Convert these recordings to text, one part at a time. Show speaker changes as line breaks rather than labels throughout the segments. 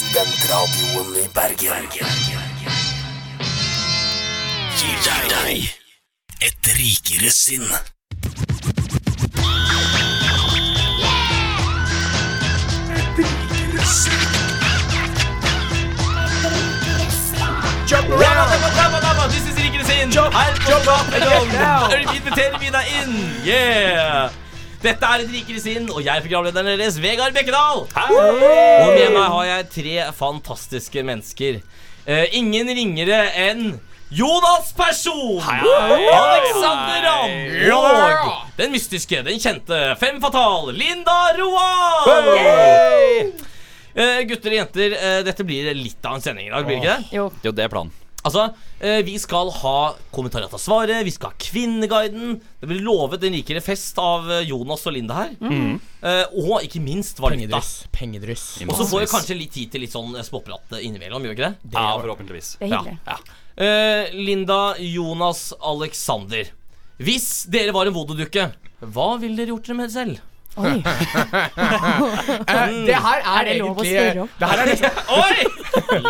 Studentradioen i Bergen. Gir deg- deg et rikere sinn.
This is Rikere sin! Her på Skatteland inviterer vi deg inn! Yeah! Dette er Et rikere sinn, og jeg er programlederen deres, Vegard Bekkedal. Og med meg har jeg tre fantastiske mennesker. Eh, ingen ringere enn Jonas Person! Alexander Rand! Og den mystiske, den kjente, Fem Fatal, Linda Roan! Eh, gutter og jenter, eh, dette blir litt av en sending i dag, blir det ikke det?
Jo.
Jo, det er planen.
Altså, eh, vi skal ha kommentarer til svaret, vi skal ha Kvinneguiden. Det blir lovet en rikere fest av eh, Jonas og Linda her. Eh, og ikke minst valuta.
Pengedryss. Pengedryss.
Og så får vi kanskje litt tid til litt sånn eh, småprat eh, innimellom, gjør vi ikke det?
Ja, forhåpentligvis.
Det er hyggelig.
Ja. Eh, Linda, Jonas, Alexander. Hvis dere var en voodoo-dukke, hva ville dere gjort dere med selv? Mm.
Oi.
Eh, det her er,
Er det lov å
egentlig
spørre om?
Det her er nesten,
Oi!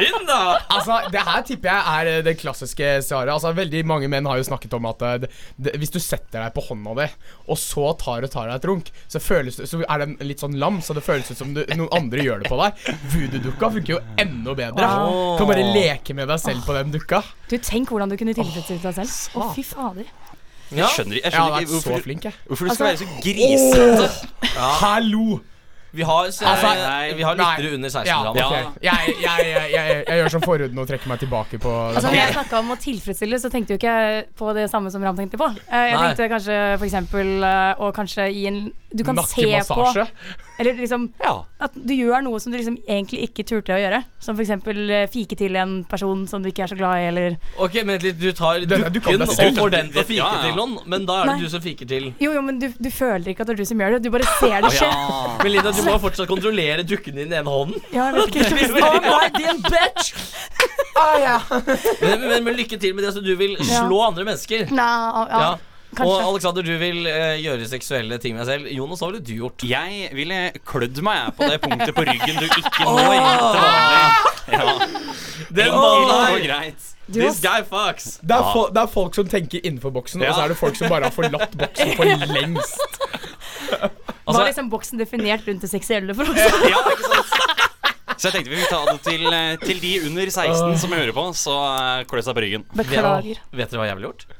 Linda!
altså, det her tipper jeg er eh, det klassiske svaret. Altså, veldig mange menn har jo snakket om at eh, det, det, hvis du setter deg på hånda di, og så tar og tar deg et runk, så, føles, det- så er den litt sånn lam, så det føles ut som du, noen andre gjør det på deg. Voodoo-dukka funker jo enda bedre.
Wow.
Kan bare leke med deg selv på den dukka.
Du, tenk hvordan du kunne tilfredsstilt deg selv. Å, fy fader.
Ja.
Skjønner, jeg
Jeg har
skjønner
vært
ikke
så
hvorfor,
flink, jeg.
hvorfor du skal være
Altså-
så grisete.
Hallo!
Vi har, eh,
Altså,
vi har
nei.
lyttere under 16
Ja,
gram.
ok. Jeg, jeg, jeg, jeg, jeg gjør som forhuden og trekker meg tilbake på
Altså, når jeg snakka om å tilfredsstille, så tenkte jo ikke jeg på det samme som Ram tenkte på. Eh, Jeg
Nei.
tenkte kanskje for eksempel eh, å kanskje gi en Du kan se på
nakkemassasje.
Eller liksom
Ja.
at du gjør noe som du liksom egentlig ikke turte å gjøre. Som for eksempel eh, fike til en person som du ikke er så glad i, eller
Ok, vent litt, du tar
Den-
dukken
du kan
og
nesten ikke.
får den til å fike
Ja, ja.
til noen, men da er det
Nei.
du som fiker til.
Jo, jo, men du, du føler ikke at det er du som gjør det. Du bare ser det skje.
Men Linda, du må jo fortsatt kontrollere dukken din i den ene hånden.
Ja, jeg vet ikke helt om jeg skal- Å, nei, din bitch!
Men, men, men lykke til med det, så du vil
Ja.
slå andre mennesker.
Nei, ja,
Ja. Og
kanskje.
Alexander, du vil eh, gjøre seksuelle ting med deg selv. Jonas, hva ville du gjort?
Jeg ville klødd meg jeg, på det punktet på ryggen du ikke når. til
Ah!
vanlig.
Den
Det går
mannen her!
greit.
Du,
This
ass.
guy fucks.
Det er, fo det er folk som tenker innenfor boksen,
Ja.
og så er det folk som bare har forlatt boksen for lengst.
Var
Altså,
liksom boksen definert rundt det seksuelle for oss?
Ja, ikke sant? Så jeg tenkte vi ville ta det til, eh, til de under 16 som hører på, så eh, klø seg på ryggen.
Beklager.
vet dere hva jeg ville gjort?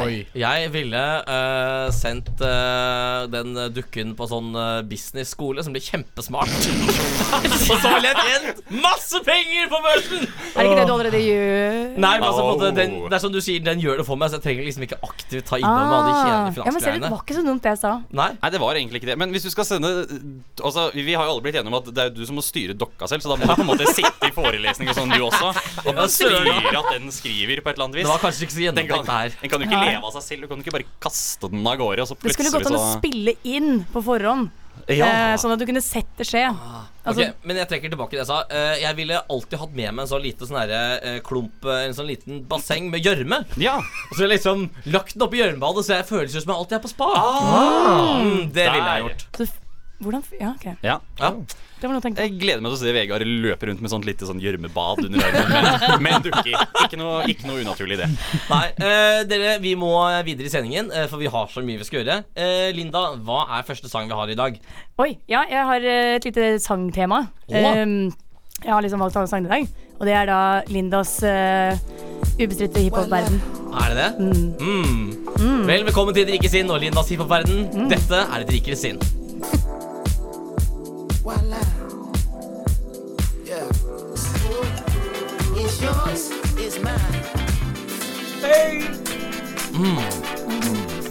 Oi.
Jeg ville eh, sendt eh, den eh, dukken på sånn eh, business-skole som blir kjempesmart. og så ville jeg tjent masse penger på børsen!
Er det ikke det du allerede gjør?
Nei, men altså, på en måte,
Au.
den, det er som du sier, den gjør det for meg, så jeg trenger liksom ikke aktivt ta innom alle de
Ah,
kjedelige
ja, men ser du, det
finansgreiene.
var ikke så dumt det jeg sa.
Nei.
Nei, det var egentlig ikke det. Men hvis du skal sende Altså, Vi har jo alle blitt enige om at det er jo du som må styre dokka selv, så da må du på en måte sitte i forelesning og sånn, du også. Og
Ja,
styre
søren.
at den skriver på et eller annet
Det
vis.
var kanskje ikke så
Den kan,
gjennomtenkt det her.
den kan jo ikke leve av seg selv. Du kan jo ikke bare kaste den av gårde. Og så
Det skulle
plutselig
gått an å
så-
spille inn på forhånd, eh,
Ja.
sånn at du kunne sett det skje. Altså,
Ah, Ok, men jeg trekker tilbake det jeg sa. Eh, jeg ville alltid hatt med meg en sånn lite sånn herre eh, klump eh, En sånn liten basseng med gjørme.
ja.
Og så har jeg liksom lagt den oppi gjørmebadet, så jeg føles jo som jeg alltid er på spa. Mm, det ville jeg
Der.
gjort.
så, f- hvordan f- Ja, OK.
ja.
Ja.
Det var noe å tenke på.
Jeg gleder meg til å se Vegard løpe rundt med sånt lite sånn gjørmebad under armen. Men, men dukker. Ikke noe, ikke noe unaturlig i det.
Nei, eh, dere, vi må videre i sendingen, eh, for vi har så mye vi skal gjøre. Eh, Linda, hva er første sang vi har i dag?
Oi, ja, jeg har eh, et lite sangtema.
Åh.
Um, jeg har liksom valgt alle sangene i dag, og det er da Lindas eh, ubestridte hiphop-verden.
Er det det? Mm. Vel, velkommen til Et rikere sinn og Lindas hiphop-verden. Dette er Et rikere sinn.
Voila. Yeah. It's yours, it's mine.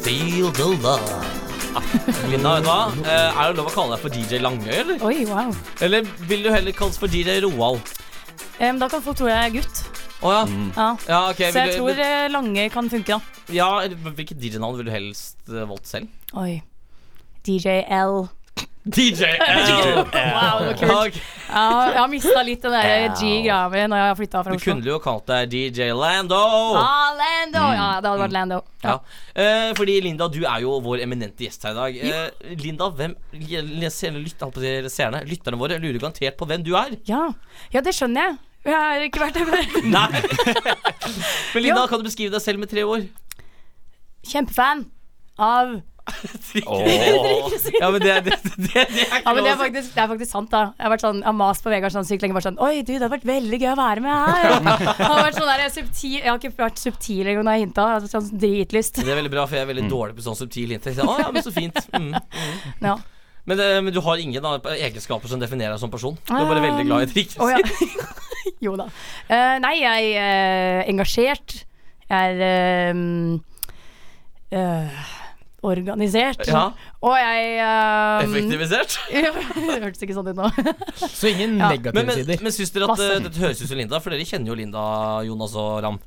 Feel the love. Linda, vet du hva? Eh, Er det lov å kalle deg for DJ Langøy, eller?
Oi, wow.
Eller vil du heller kalles for DJ Roald?
Em, Ehm, da kan folk tro jeg er gutt.
Å ja.
Ja.
ja ok,
Så jeg
vil du-
tror eh, Langøy kan funke, da.
ja, eller Hvilket DJ-navn ville du helst eh, valgt selv?
Oi. DJ L.
DJ L.
Wow, det var kult.
Ok.
Ja, jeg har mista litt den der G-greia mi når jeg har flytta
Du
fra Oslo.
kunne jo kalt deg DJ Lando.
sånn?
Mm.
Ah, Lando! Ja, det hadde vært Lando.
Ja.
Ja.
Eh, fordi Linda, du er jo vår eminente gjest her i dag. Eh, Linda, hvem seerne, lyt, holdt på å si seerne, lytterne våre lurer garantert på hvem du er.
Ja. ja, det skjønner jeg. Jeg har ikke vært der før.
Nei Men Linda,
Jo.
kan du beskrive deg selv med tre ord?
Kjempefan av
Ja, men det, det, det, det er ikke
Ja, men det
lov å
er,
si.
faktisk, det er faktisk sant, da. Jeg har vært sånn, jeg har mast på Vegard sånn sykt lenge. Bare sånn Oi, du, det hadde vært veldig gøy å være med her. Jeg har, vært sånn der, subtil, jeg har ikke vært subtil engang når jeg hinta. Jeg har sånn dritlyst.
Det er veldig bra, for jeg er veldig dårlig på sånn subtil hint. Jeg sier, Å, ja, men så fint. Mm.
Ja.
Men, eh, men du har ingen da, egenskaper som definerer deg som person. Du er bare veldig glad i drikke.
Ah. Å, ja. jo da. Eh, nei, jeg er eh, engasjert. Jeg er eh, eh, organisert.
Ja.
Og jeg eh,
Effektivisert.
Mm.
Det hørtes ikke sånn ut nå.
Så ingen
Ja.
negative
Men, men,
sider.
men syns dere at
Masse.
eh, dette høres ut som Linda? For dere kjenner jo Linda, Jonas og Ram.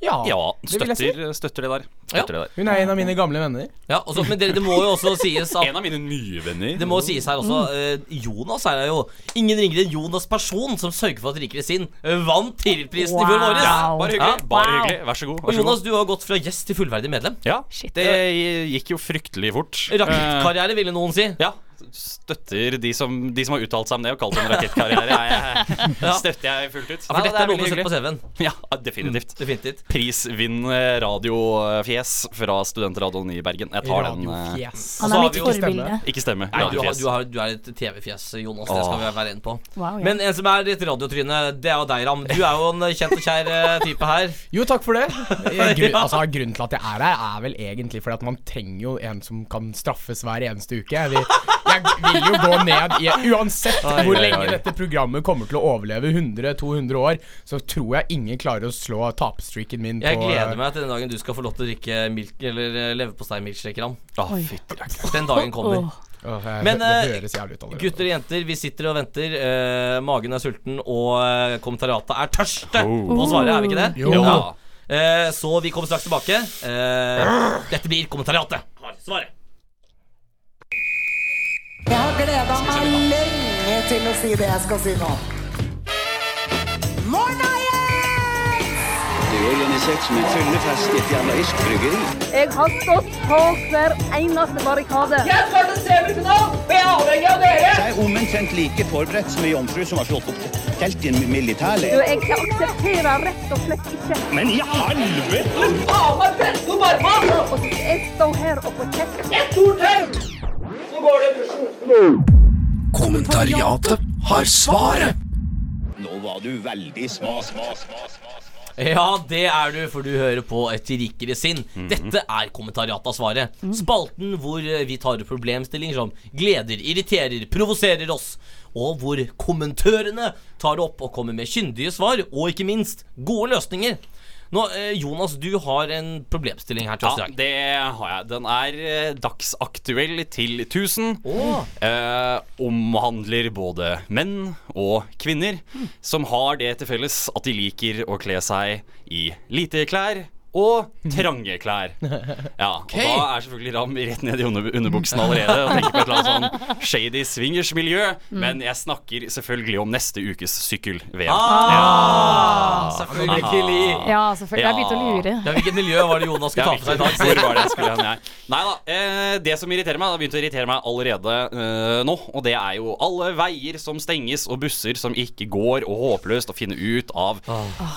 ja.
Ja,
Det vil jeg
støtter, støtter det der. Støtter det der.
Hun er en av mine gamle venner.
Ja, også, men det, det må jo også sies at
En av mine nye venner.
det må sies her også
Mm.
eh, Jonas er jo ingen ringere enn Jonas person som sørger for at Rikere Sinn eh, vant Tiril-prisen i fjor våres.
Wow.
Ja.
Bare hyggelig. Bare
Wow.
hyggelig. Vær så god.
Og
Vær så
Jonas,
god.
du har gått fra gjest til fullverdig medlem.
Ja,
Shit.
det gikk jo fryktelig fort. Eh,
Rakettkarriere, ville noen si.
Ja. Støtter de som, de som har uttalt seg om det og kalt det en rakettkarriere. Jeg, jeg, støtter jeg fullt ut.
Ja,
Nei,
for dette er noe Mm.
veldig
du ser på CV-en.
hyggelig. Ja, definitivt.
Definitivt.
Prisvinn eh, radiofjes fra studentradioen i Bergen. Jeg tar den. eh,
Radiofjes.
så
Han er
har
mitt
vi jo
forbilde.
Ikke stemme.
Nei, du, har,
Radiofjes.
du, har, du er et TV-fjes, Jonas. Det skal vi være enige på.
Wow, ja.
Men en som er litt radiotryne, det er jo deg, Ram. Du er jo en kjent og kjær eh, type her.
Jo, takk for det. Eh, Grunn, altså, grunnen til at jeg er her, er vel egentlig fordi at man trenger jo en som kan straffes hver eneste uke. Jeg vil, jeg vil jo gå ned i Uansett
Oi,
hvor
oi,
lenge
oi.
dette programmet kommer til å overleve, 100-200 år, så tror jeg ingen klarer å slå tapestreaken min
Jeg
på eh,
gleder meg til den dagen du skal få lov til å drikke milk Eller eh, leverpostei-milkshake, Ram.
Å,
Oi.
fytti rakkeren.
Den dagen kommer.
Åh.
Åh, jeg,
Men,
det
eh,
høres jævlig ut allerede.
Gutter og jenter, vi sitter og venter. Eh, magen er sulten, og eh, kommentariatet er tørste
Oh.
på svaret, er vi ikke det?
Jo.
Ja. Eh, så vi kommer straks tilbake. Eh, dette blir kommentariatet. Har Svaret.
Jeg har gleda meg lenge til å si det jeg skal si nå. Morna, Jens!
Du organisert som en fyllefest i et jævla irsk bryggeri.
eh,
Jeg har stått på hver eneste barrikade.
Jeg er omtrent like forberedt som ei jomfru som har slått opp telt i en militærleir.
Jeg aksepterer rett og slett ikke
Men i helvete!
at jeg står her og får kjeft.
Kommentariatet har svaret.
Nå var du veldig sma, sma, sma, sma. sma.
Ja, det er du, for du hører på et rikere sinn.
Mhm.
Dette er kommentariatet av svaret. Spalten hvor eh, vi tar opp problemstillinger som gleder, irriterer, provoserer oss. Og hvor kommentørene tar det opp og kommer med kyndige svar, og ikke minst gode løsninger. Nå, eh, Jonas, du har en problemstilling her til oss
Ja,
i dag.
det har jeg. Den er eh, dagsaktuell til 1000.
Åh.
Eh, omhandler både menn og kvinner, som har det til felles at de liker å kle seg i lite klær. Og trange klær. Ja, og Da er selvfølgelig Ram rett ned i under underbuksen allerede og tenker på et eller annet sånn shady swingers-miljø. Men jeg snakker selvfølgelig om neste ukes sykkel-VM.
Ah, selvfølgelig.
Ja, selvfølgelig. Jeg begynte å lure.
Ja, hvilket miljø var det Jonas skulle ta for seg i dag?
Hvor var det jeg skulle hen? jeg? Nei da. Eh, det som irriterer meg, det har begynt å irritere meg allerede eh, nå, og det er jo alle veier som stenges, og busser som ikke går, og håpløst å finne ut av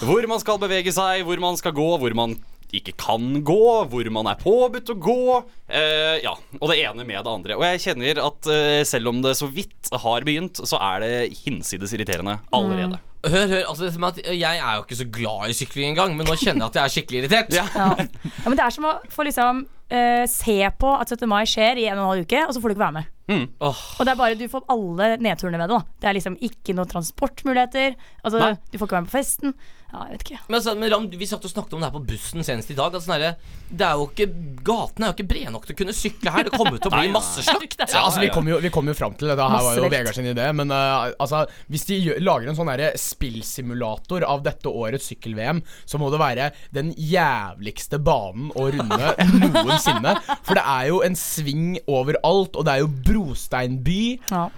hvor man skal bevege seg, hvor man skal gå, hvor man ikke kan gå, hvor man er påbudt å gå. Eh, ja, og det ene med det andre. Og jeg kjenner at eh, selv om det så vidt har begynt, så er det hinsides irriterende allerede.
Hør, hør, altså dette med at Jeg er jo ikke så glad i sykling engang, men nå kjenner jeg at jeg er skikkelig irritert.
Ja. ja, men det er som å få liksom eh, se på at 17. mai skjer i en og en halv uke, og så får du ikke være med.
Åh.
Og det er bare Du får alle nedturene ved det. da Det er liksom ikke noen transportmuligheter. Altså,
Nei.
du får ikke være med på festen. Ja, jeg vet ikke.
Men, altså, men Ram, vi satt og snakket om det her på bussen senest i dag. At sånn herre, det er jo ikke, Gatene er jo ikke brede nok til å kunne sykle her. Det kommer jo til å bli masseslakt.
Ja, altså, vi kom jo, vi kom jo fram til det. Det her var jo
Massivt.
Vegard sin idé. Men eh, altså, hvis de gjør, lager en sånn derre spillsimulator av dette årets sykkel-VM, så må det være den jævligste banen å runde noensinne. For det er jo en sving overalt, og det er jo brosteinby.
Ja.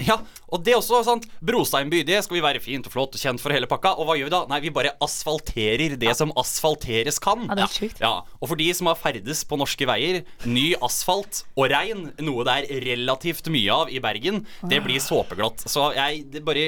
Ja, og det er også sant. Brosteinby, det skal vi være fint og flott og kjent for hele pakka. Og hva gjør vi da? Nei, vi bare asfalterer det som asfalteres kan.
Ja, det er sjukt.
Ja, Og for de som har ferdes på norske veier, ny asfalt og regn, noe det er relativt mye av i Bergen, det blir såpeglatt. Så jeg det bare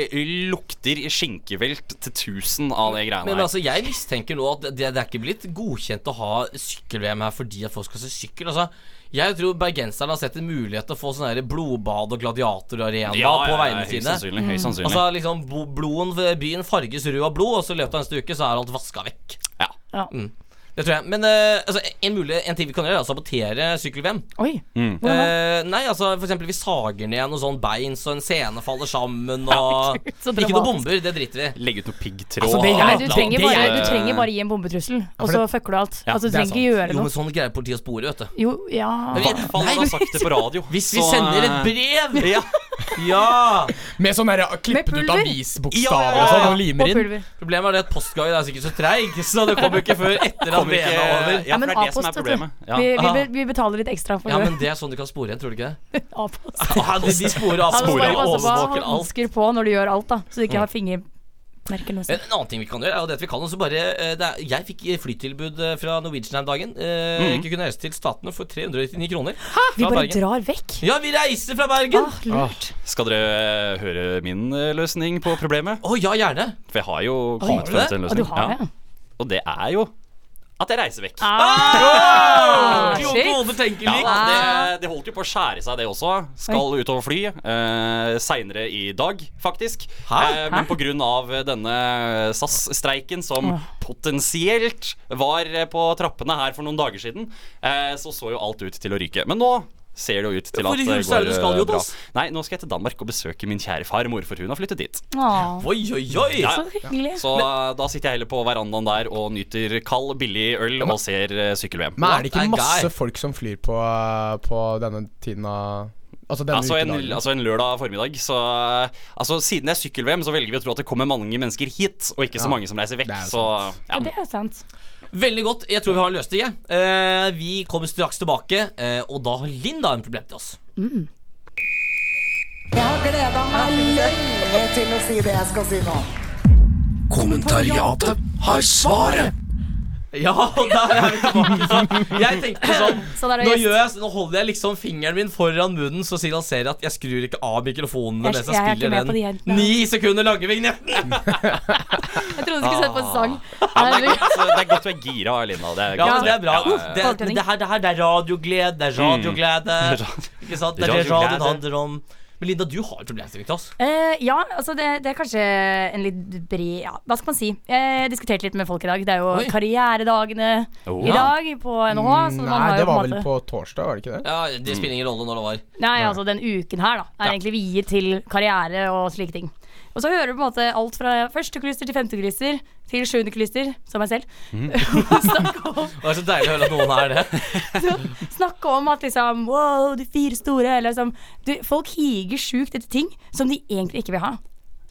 lukter skinkevelt til tusen av de greiene
Men
her.
altså, jeg mistenker nå at det, det er ikke blitt godkjent å ha sykkel-VM her fordi at folk skal se sykkel. Altså, jeg tror bergenserne har sett en mulighet til å få sånn her blodbad og gladiatorarena på veiene
høyst
sine.
sannsynlig. Høyst sannsynlig.
Altså liksom bo- bloden ved byen farges rød av blod, og så i løpet av neste uke så er alt vaska vekk.
ja.
Ja.
Det tror jeg. Men eh, altså, en, mulig, en ting vi kan gjøre, er å sabotere sykkel-VM.
Oi. Hvordan da?
Eh, nei, altså for eksempel vi sager ned noe sånn bein så en sene faller sammen og
Gud, så
Ikke noe
dramatisk.
bomber, det driter vi i.
Legge ut noe piggtråd.
Altså, det er-
Nei,
det
du, trenger
det
bare,
er-
du trenger bare gi en bombetrussel, og
for
så
det-
fucker du alt.
Ja,
altså,
det
du
er
trenger ikke gjøre
Jo, men
noe.
sånn greier politiet å spore, vet du.
Jo, ja
Men
I hvert fall når du har sagt det på radio.
Hvis vi
så,
sender et
eh,
brev
ja.
Ja!
Med sånn derre klippet ut
pulver?
avisbokstaver
Ja, ja,
og
ja.
sånn, og
Og
limer inn.
pulver.
Problemet er det at postgangen er sikkert så treig, så det kommer jo ikke før etter at
Kommer
VM er over.
Nei,
ikke, ja, for det
men
er det som er
A-post, vet
problemet.
du.
Ja.
Vi, vi,
Aha.
be- vi betaler litt ekstra for
Ja,
det.
men det er sånn du kan spore igjen, tror du ikke det?
A-post.
Ah, de, de sporer av
Ja, du må
sporer og
bare passe på å ha
overvåker alt.
hansker på når du gjør alt, da. Så du ikke har fingermerker noe
Eh, En
sted.
annen ting vi kan gjøre, er jo det at vi kan også bare eh, det er, Jeg fikk flytilbud eh, fra Norwegian her om dagen. Eh,
Mm.
Ikke kunne reise til Statene for 399 kroner.
Vi
Fra
bare
Bergen.
drar vekk.
Ja, vi reiser fra Bergen!
Ah, lurt.
Skal dere eh, høre min eh, løsning på problemet?
Å ja, gjerne.
For jeg har jo
har du
kommet frem
det?
til en
Og Ah, du
Ah, løsning.
har det?
Og det er jo at jeg reiser vekk.
Ah!
Ah,
Jo,
shit.
både tenker
Ja,
likt.
da, det, det holdt jo på å skjære seg, det også. Skal ut og fly. Eh, Seinere i dag, faktisk.
Hæ?
Eh, men pga. denne eh, SAS-streiken som potensielt var eh, på trappene her for noen dager siden, eh, så så jo alt ut til å ryke. Men nå ser det jo ut til
Hvor
at
i
det
huset er det du
går
skal,
eh, bra.
Jonas?
Nei, nå skal jeg til Danmark og besøke min kjære farmor, for hun har flyttet dit.
Ah,
Oi, oi, oi.
Ja,
Så hyggelig.
Så eh, da sitter jeg heller på verandaen der og nyter kald, billig øl og ser eh, sykkel-VM.
Men er det
What a
ikke
guy.
masse folk som flyr på, eh, på denne tiden av Altså denne
Altså en,
ukedagen?
altså en lørdag formiddag. Så eh, altså, siden det er sykkel-VM, så velger vi å tro at det kommer mange mennesker hit, og ikke så
Ja.
mange som reiser vekk.
Det er
Så
sant.
ja.
Ja, det er sant.
Veldig godt. Jeg tror vi har en løsning. jeg. Eh, vi kommer straks tilbake, eh, og da har Linda en problem til oss.
Jeg har gleda meg lenge til å si det jeg skal si nå.
Kommentariatet har svaret.
Ja, og der er vi tilbake. Så jeg tenkte sånn
Sånn er det
nå,
visst.
gjør jeg, nå holder jeg liksom fingeren min foran munnen, så signaliserer jeg at jeg skrur ikke av mikrofonen
Jeg-
mens
jeg
jeg
er ikke
spiller
med på de
den
jentene.
ni sekunder lange vignetten.
Jeg trodde du skulle sette på en sang.
det,
Herregud.
er godt, Altså, det er godt du er gira, Linda. Det er
Ja,
godt.
men det er bra.
Uh,
Ja, ja,
Det,
ja.
men det, her, det her det er radioglede. Det er radioglede. Ikke sant? Det er det
Radioglede.
radioen handler om. Men Linda, du har en problemstilling til oss.
Eh, ja, altså det, det er kanskje en litt bred ja, Hva skal man si? Jeg diskuterte litt med folk i dag. Det er jo
Oi.
karrieredagene
Oh.
i dag på NHH. Så man
Nei,
har
det
jo på
var
en
vel
måte
på torsdag, var det ikke det?
Ja, Det spiller ingen rolle når det var.
Nei, altså den uken her da er egentlig viet til karriere og slike ting. Og så hører du på en måte alt fra førsteklister til femteklister til sjuendeklister, som meg selv. snakke, om,
Det er så deilig å høre at noen er det.
snakke om at liksom Wow, de fire store. Eller liksom du, Folk higer sjukt etter ting som de egentlig ikke vil ha.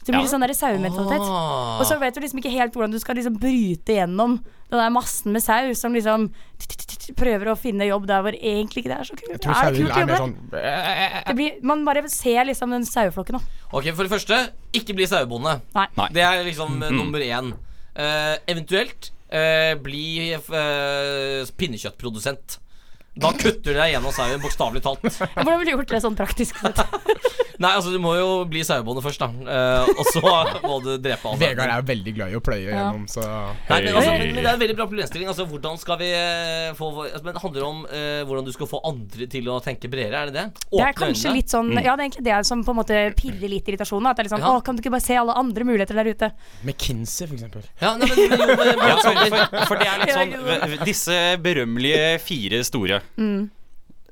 Så det blir litt sånn der sauementalitet.
Ah.
Og så vet du liksom ikke helt hvordan du skal liksom bryte gjennom den der massen med sau som liksom t- t- t- t- prøver å finne jobb der hvor egentlig ikke det er så kult.
Jeg tror
er det
sauer
kult å
er
jobbe
mer
der?
sånn eh,
Det blir, man bare ser liksom den saueflokken, da.
Ok, For det første, ikke bli sauebonde.
Nei.
Det er liksom eh, nummer én. Eh, eventuelt eh, bli eh, pinnekjøttprodusent. Da kutter du deg gjennom sauen, bokstavelig talt.
Hvordan ville du gjort det sånn praktisk sett?
Nei, altså du må jo bli sauebonde først, da. Eh, og så må du drepe alle.
Vegard er jo veldig glad i å pløye gjennom, så
Nei, men, altså, men, men det er en veldig bra problemstilling. Altså, hvordan skal vi eh, få altså, Men Det handler om eh, hvordan du skal få andre til å tenke bredere, er det det?
Det
Åpne
er kanskje
øynene.
litt sånn Ja, det er egentlig det som på en måte pirrer litt irritasjonen. da. At det er litt sånn
Ja.
Å, kan du ikke bare se alle andre muligheter der ute?
McKinsey, for eksempel.
ja, nei, men, men, jo, men,
Ja,
men,
for, for, for det er litt sånn v- Disse berømmelige fire store.
Mm.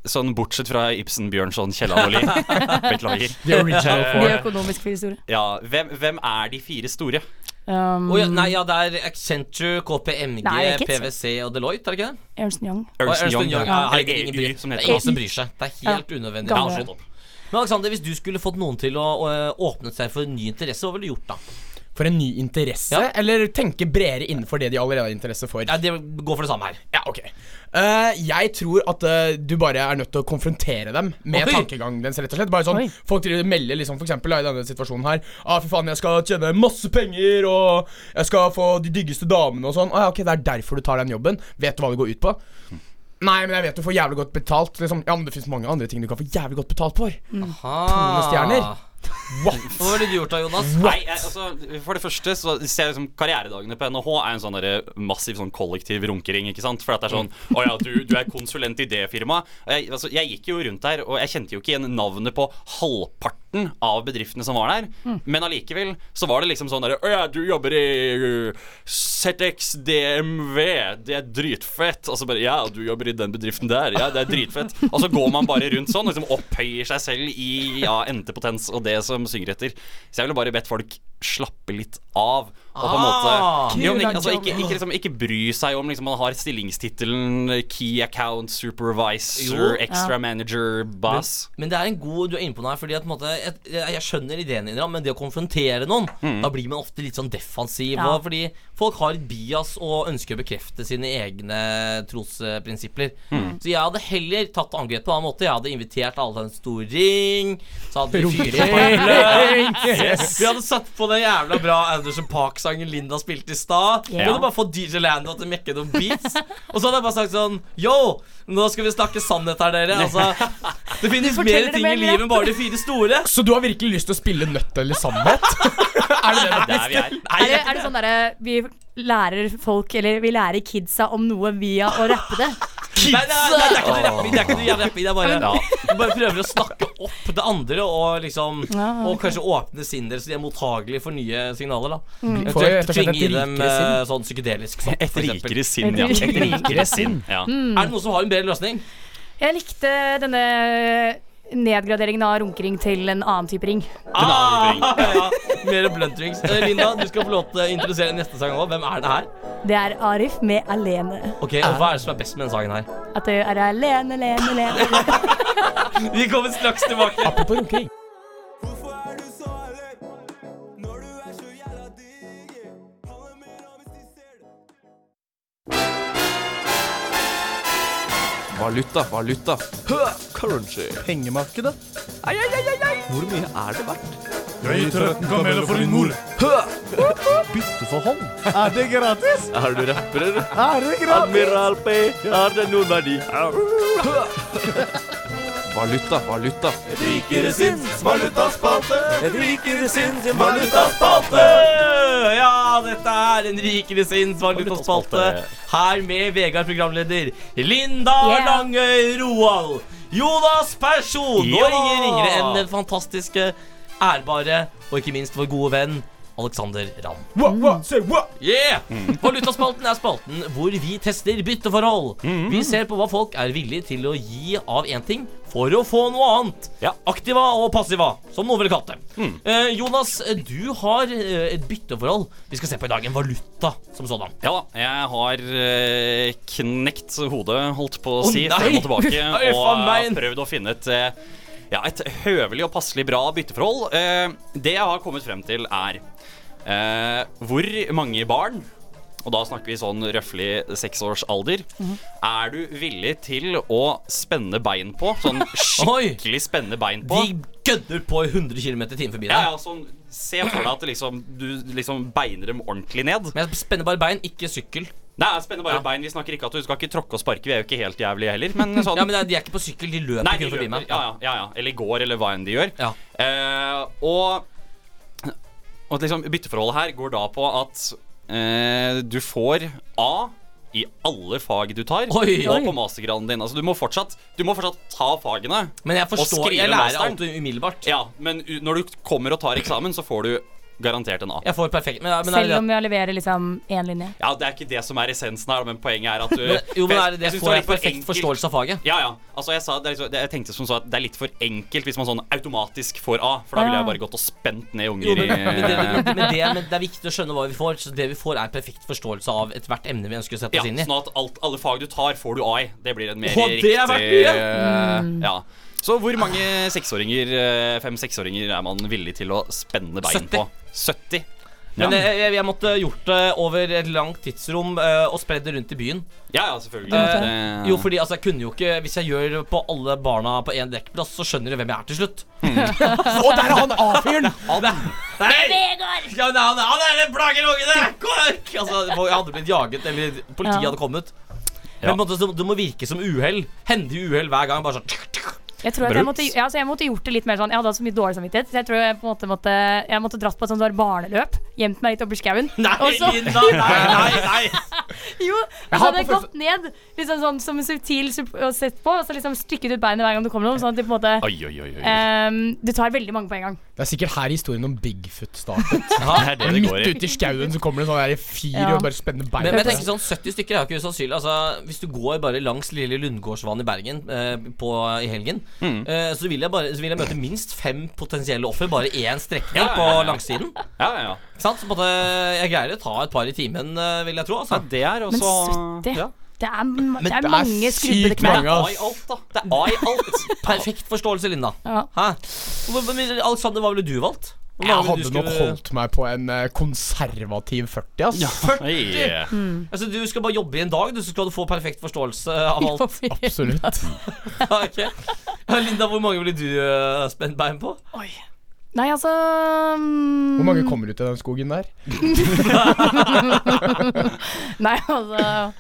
Sånn bortsett fra Ibsen, Bjørnson, Kielland og Lie. Beklager.
The original
De
four.
økonomiske historiene.
Ja, hvem, hvem er de fire store?
Um,
Å, ja, nei, ja, det er Accenture, KPMG,
Nei, det er ikke
PwC og Deloitte, er det ikke det?
Ernst Young.
Og
Ernst
Ernst
Young,
Young, ja,
eller
herregud, ingen
EU,
bryr,
som
det
det
er
heter.
ingen som bryr seg. Det er helt
Ja.
unødvendig.
Gamle.
Ja, slutt opp. Men Alexander, hvis du skulle fått noen til å øh, åpne seg for en ny interesse, hva ville du gjort da?
for en ny interesse,
Ja.
eller tenke bredere innenfor det de allerede har interesse for?
Ja, det går for det samme her.
Ja, ok. Eh, jeg tror at eh, du bare er nødt til å konfrontere dem med
Oi.
tankegangen dens. rett og slett Bare sånn,
Oi.
Folk driver og melder liksom, for eksempel, da, i denne situasjonen her ah, fy faen, jeg skal tjene masse penger, og jeg skal få de diggeste damene og sånn. Ah, ja, ok, Det er derfor du tar den jobben. Vet du hva det går ut på? Nei, men jeg vet du får jævlig godt betalt. Liksom. Ja, men det fins mange andre ting du kan få jævlig godt betalt for.
Ah.
stjerner. What?
Hva var det du gjort da, Jonas?
Nei, jeg, altså, for det første så ser jeg liksom karrieredagene på NHH er en sånn der massiv sånn kollektiv runkering. ikke sant? For at det er sånn Å ja, du, du er konsulent i det firmaet. Og Jeg, altså, jeg gikk jo rundt der, og jeg kjente jo ikke igjen navnet på halvparten av bedriftene som var der. Men allikevel så var det liksom sånn derre Å ja, du jobber i uh, ZX DMV. Det er dritfett. Og så bare Ja, du jobber i den bedriften der. Ja, det er dritfett. Og så går man bare rundt sånn og liksom opphøyer seg selv i ja, entepotens og det som synger etter. Så jeg ville bare bedt folk slappe litt av. Og på en måte
Ah.
jo, men, ikke- altså, ikke, ikke, liksom, ikke bry seg om liksom, man har stillingstittelen eh, key account supervisor,
Jo.
extra manager, boss.
Men det er en god du er inne på noe her, fordi at, på en måte, jeg, jeg jeg skjønner ideen din, ja, men det å konfrontere noen, da blir man ofte litt sånn defensiv.
Ja.
Og, fordi folk har et bias og ønsker å bekrefte sine egne trosprinsipper. Så jeg hadde heller tatt angrep på en annen måte. Jeg hadde invitert alle til en stor ring. Så hadde vi fyrt opp Vi hadde satt på den jævla bra Anderson Park-sangen Linda spilte i stad. Vi
Ja.
hadde bare fått DJ Lando til å mekke noen beats. Og så hadde jeg bare sagt sånn Yo, nå skal vi snakke sannhet her, dere. Altså, det finnes
Du
mer
forteller det
ting i
mer
livet
rett.
enn bare de fire store.
Så du har virkelig lyst til å spille nøtt eller sannhet? er det det?
Der vi er.
Nei,
Er det, er det sånn derre Vi lærer folk, eller vi lærer kidsa om noe via å rappe det?
nei, nei, nei, det er ikke noe rapping. Det er ikke noe jævla rapping. Det er bare
Ja.
Du bare prøver å snakke opp det andre og liksom
Ja,
Og kanskje åpne sinnet deres så de er mottagelige for nye signaler, da.
Mm.
Vi får jo rett og slett
Tvinge
et
i dem
rikere sinn.
eh, sånn psykedelisk sopp,
Et
for eksempel.
rikere sinn, ja.
Et rikere
sinn. Ja.
Er det noen som har en bedre løsning?
Jeg likte denne nedgraderingen av runkering til en annen type ring.
Ah!
Ja, Mer bluntrings. Eh, Linda, du skal få lov til å introdusere neste sang òg. Hvem er det her?
Det er Arif med 'Alene'.
Ok, og Hva er det som er best med denne sangen her?
At du er alene, alene, alene.
Vi kommer straks tilbake.
Apropos runkering.
Valuta, valuta. Currency.
Pengemarkedet.
Hvor mye er det verdt?
Jeg gir 13 kameler for din mor.
Bytte for hånd.
Er det gratis?
Er du rapper, eller?
Er det gratis?
Admiral P, er det noen verdi? Valuta, valuta.
Rikere sinns valutaspalte. Rikere sinns valutaspalte.
Ja, dette er en rikere sinns valutaspalte. Her med Vegard, programleder. Linda
Yeah.
Langøy Roald. Jonas Persson.
Ja.
Og ingen ringere enn den fantastiske, eh, ærbare og ikke minst vår gode venn Alexander Ramm.
What, what, say what?
Yeah! Valutaspalten er spalten hvor vi tester bytteforhold.
Mhm.
Vi ser på hva folk er villige til å gi av én ting for å få noe annet.
Ja. Mm.
Aktiva og passiva, som noen ville kalt det. Eh, Jonas, du har eh, et bytteforhold vi skal se på i dag. En valuta som sådan.
Ja da, jeg har eh, knekt hodet, holdt på å
Å,
si,
nei!
frem og tilbake.
Nei,
og
faen meg.
har prøvd å finne et, eh, ja, et høvelig og passelig bra bytteforhold. Eh, det jeg har kommet frem til, er eh, hvor mange barn og da snakker vi sånn røftlig seks års alder.
Mhm.
Er du villig til å spenne bein på? Sånn
Oi.
skikkelig spenne bein på?
De gønner på i 100 km i timen forbi deg.
Ja, ja, sånn, se for deg at det liksom, du liksom beiner dem ordentlig ned.
Men jeg spenner bare bein, ikke sykkel.
Nei, jeg spenner bare
Ja.
bein. Vi snakker ikke at du skal ikke tråkke og sparke. Vi er jo ikke helt jævlige heller. Men sånn
Ja, men det er- De er ikke på sykkel, de løper
Nei, de
kun forbi
løper.
meg.
Ja, ja, ja, ja. Eller går, eller hva enn de gjør.
Ja.
Eh, og og liksom, bytteforholdet her går da på at eh, du får A i alle fag du tar,
Oi. Oi.
og på mastergraden din. Altså, du må fortsatt, du må fortsatt ta fagene.
Men jeg
Og
forstår,
skrive
jeg lærer
masteren.
alt umiddelbart.
Ja, men u- når du kommer og tar eksamen, så får du garantert en A.
Jeg får perfekt men, men er det
Selv om jeg leverer liksom én linje.
Ja, Det er ikke det som er essensen her, men poenget er at du
Men- Jo, men er det,
Jeg
det
synes
får jeg
litt for
perfekt
enkelt.
forståelse av faget.
Ja, ja. Altså, jeg, sa, det er, liksom- det- jeg tenkte som så at det er litt for enkelt hvis man sånn automatisk får A. For da ville jeg bare gått og spent ned unger
Jo, men, men, det,
i
men, det, men det er viktig å skjønne hva vi får. Så det vi får, er perfekt forståelse av ethvert emne vi ønsker å sette
ja,
oss inn i.
sånn at alt, alle fag du tar, får du A i. Det blir en mer
Å,
riktig
det er verdt mye!
eh, Ja. Så hvor mange seksåringer, eh, fem-seksåringer er man villig til å spenne bein
70.
på? 70.
Men
Ja.
jeg, jeg, jeg måtte gjort det over et langt tidsrom eh, og spredd det rundt i byen.
Ja, ja, selvfølgelig.
Eh,
Det-
jo, fordi altså, jeg kunne jo ikke Hvis jeg gjør på alle barna på én dekkplass, så skjønner de hvem jeg er til slutt.
Og Mm. der er han A-fyren!
Vegard! Ja, men han, han er en plager ungene! Kork! Altså, folk hadde blitt jaget, eller politiet
Ja.
hadde kommet. Men på en måte, så- det må virke som uhell. Hendig uhell hver gang. Bare sånn tuk, tuk.
Jeg tror at
Brutt.
jeg måtte, ja, altså jeg måtte gjort det litt mer sånn Jeg hadde hatt så mye dårlig samvittighet, så jeg tror jeg på en måte måtte Jeg måtte dratt på et sånt der barneløp. Gjemt meg litt oppi skauen.
Nei,
og så-
Linda, nei, nei, nei.
Jo, og så
har
hadde jeg gått ned liksom sånn som en subtil sup- og sett på, og så liksom strykket ut beinet hver gang det kom noen. Sånn at de på en måte
Oi, oi, oi, oi.
ehm, Du tar veldig mange på en gang.
Det er sikkert her historien om Bigfoot startet.
Ja, det er det det går i.
Midt ute i skauen så kommer det en sånn der fyr
Ja.
og bare spenner
Men,
beina.
men jeg tenker sånn 70 stykker er jo ikke usannsynlig. Altså, hvis du går bare langs lille Lundgårdsvann i Bergen eh, på, i helgen,
Mm.
eh, så, vil jeg bare, så vil jeg møte minst fem potensielle offer bare én strekning
Ja, ja, ja,
på
ja.
langsiden.
Ja, ja, ja.
Ikke sant? Så på en måte, jeg greier å ta et par i timen, eh, vil jeg tro. Altså.
det er
Men 70 det, er, m- det er
det er
mange skrubbede
sykt mange,
knær.
ass. Det er A i alt. Perfekt forståelse, Linda.
Ja.
Hæ? Hvor- hvor- men Alexander, hva ville du valgt? Hvor
Jeg
mange ville du
hadde nok
skulle-
holdt meg på en eh, konservativ 40, ass.
40? Altså, du skal bare jobbe i en dag, du, så skal du få perfekt forståelse av alt.
Absolutt.
Ja, ok. Ja, Linda, hvor mange ville du eh, spent bein på?
Nei, altså mm,
Hvor mange kommer ut i den skogen der?
Nei, altså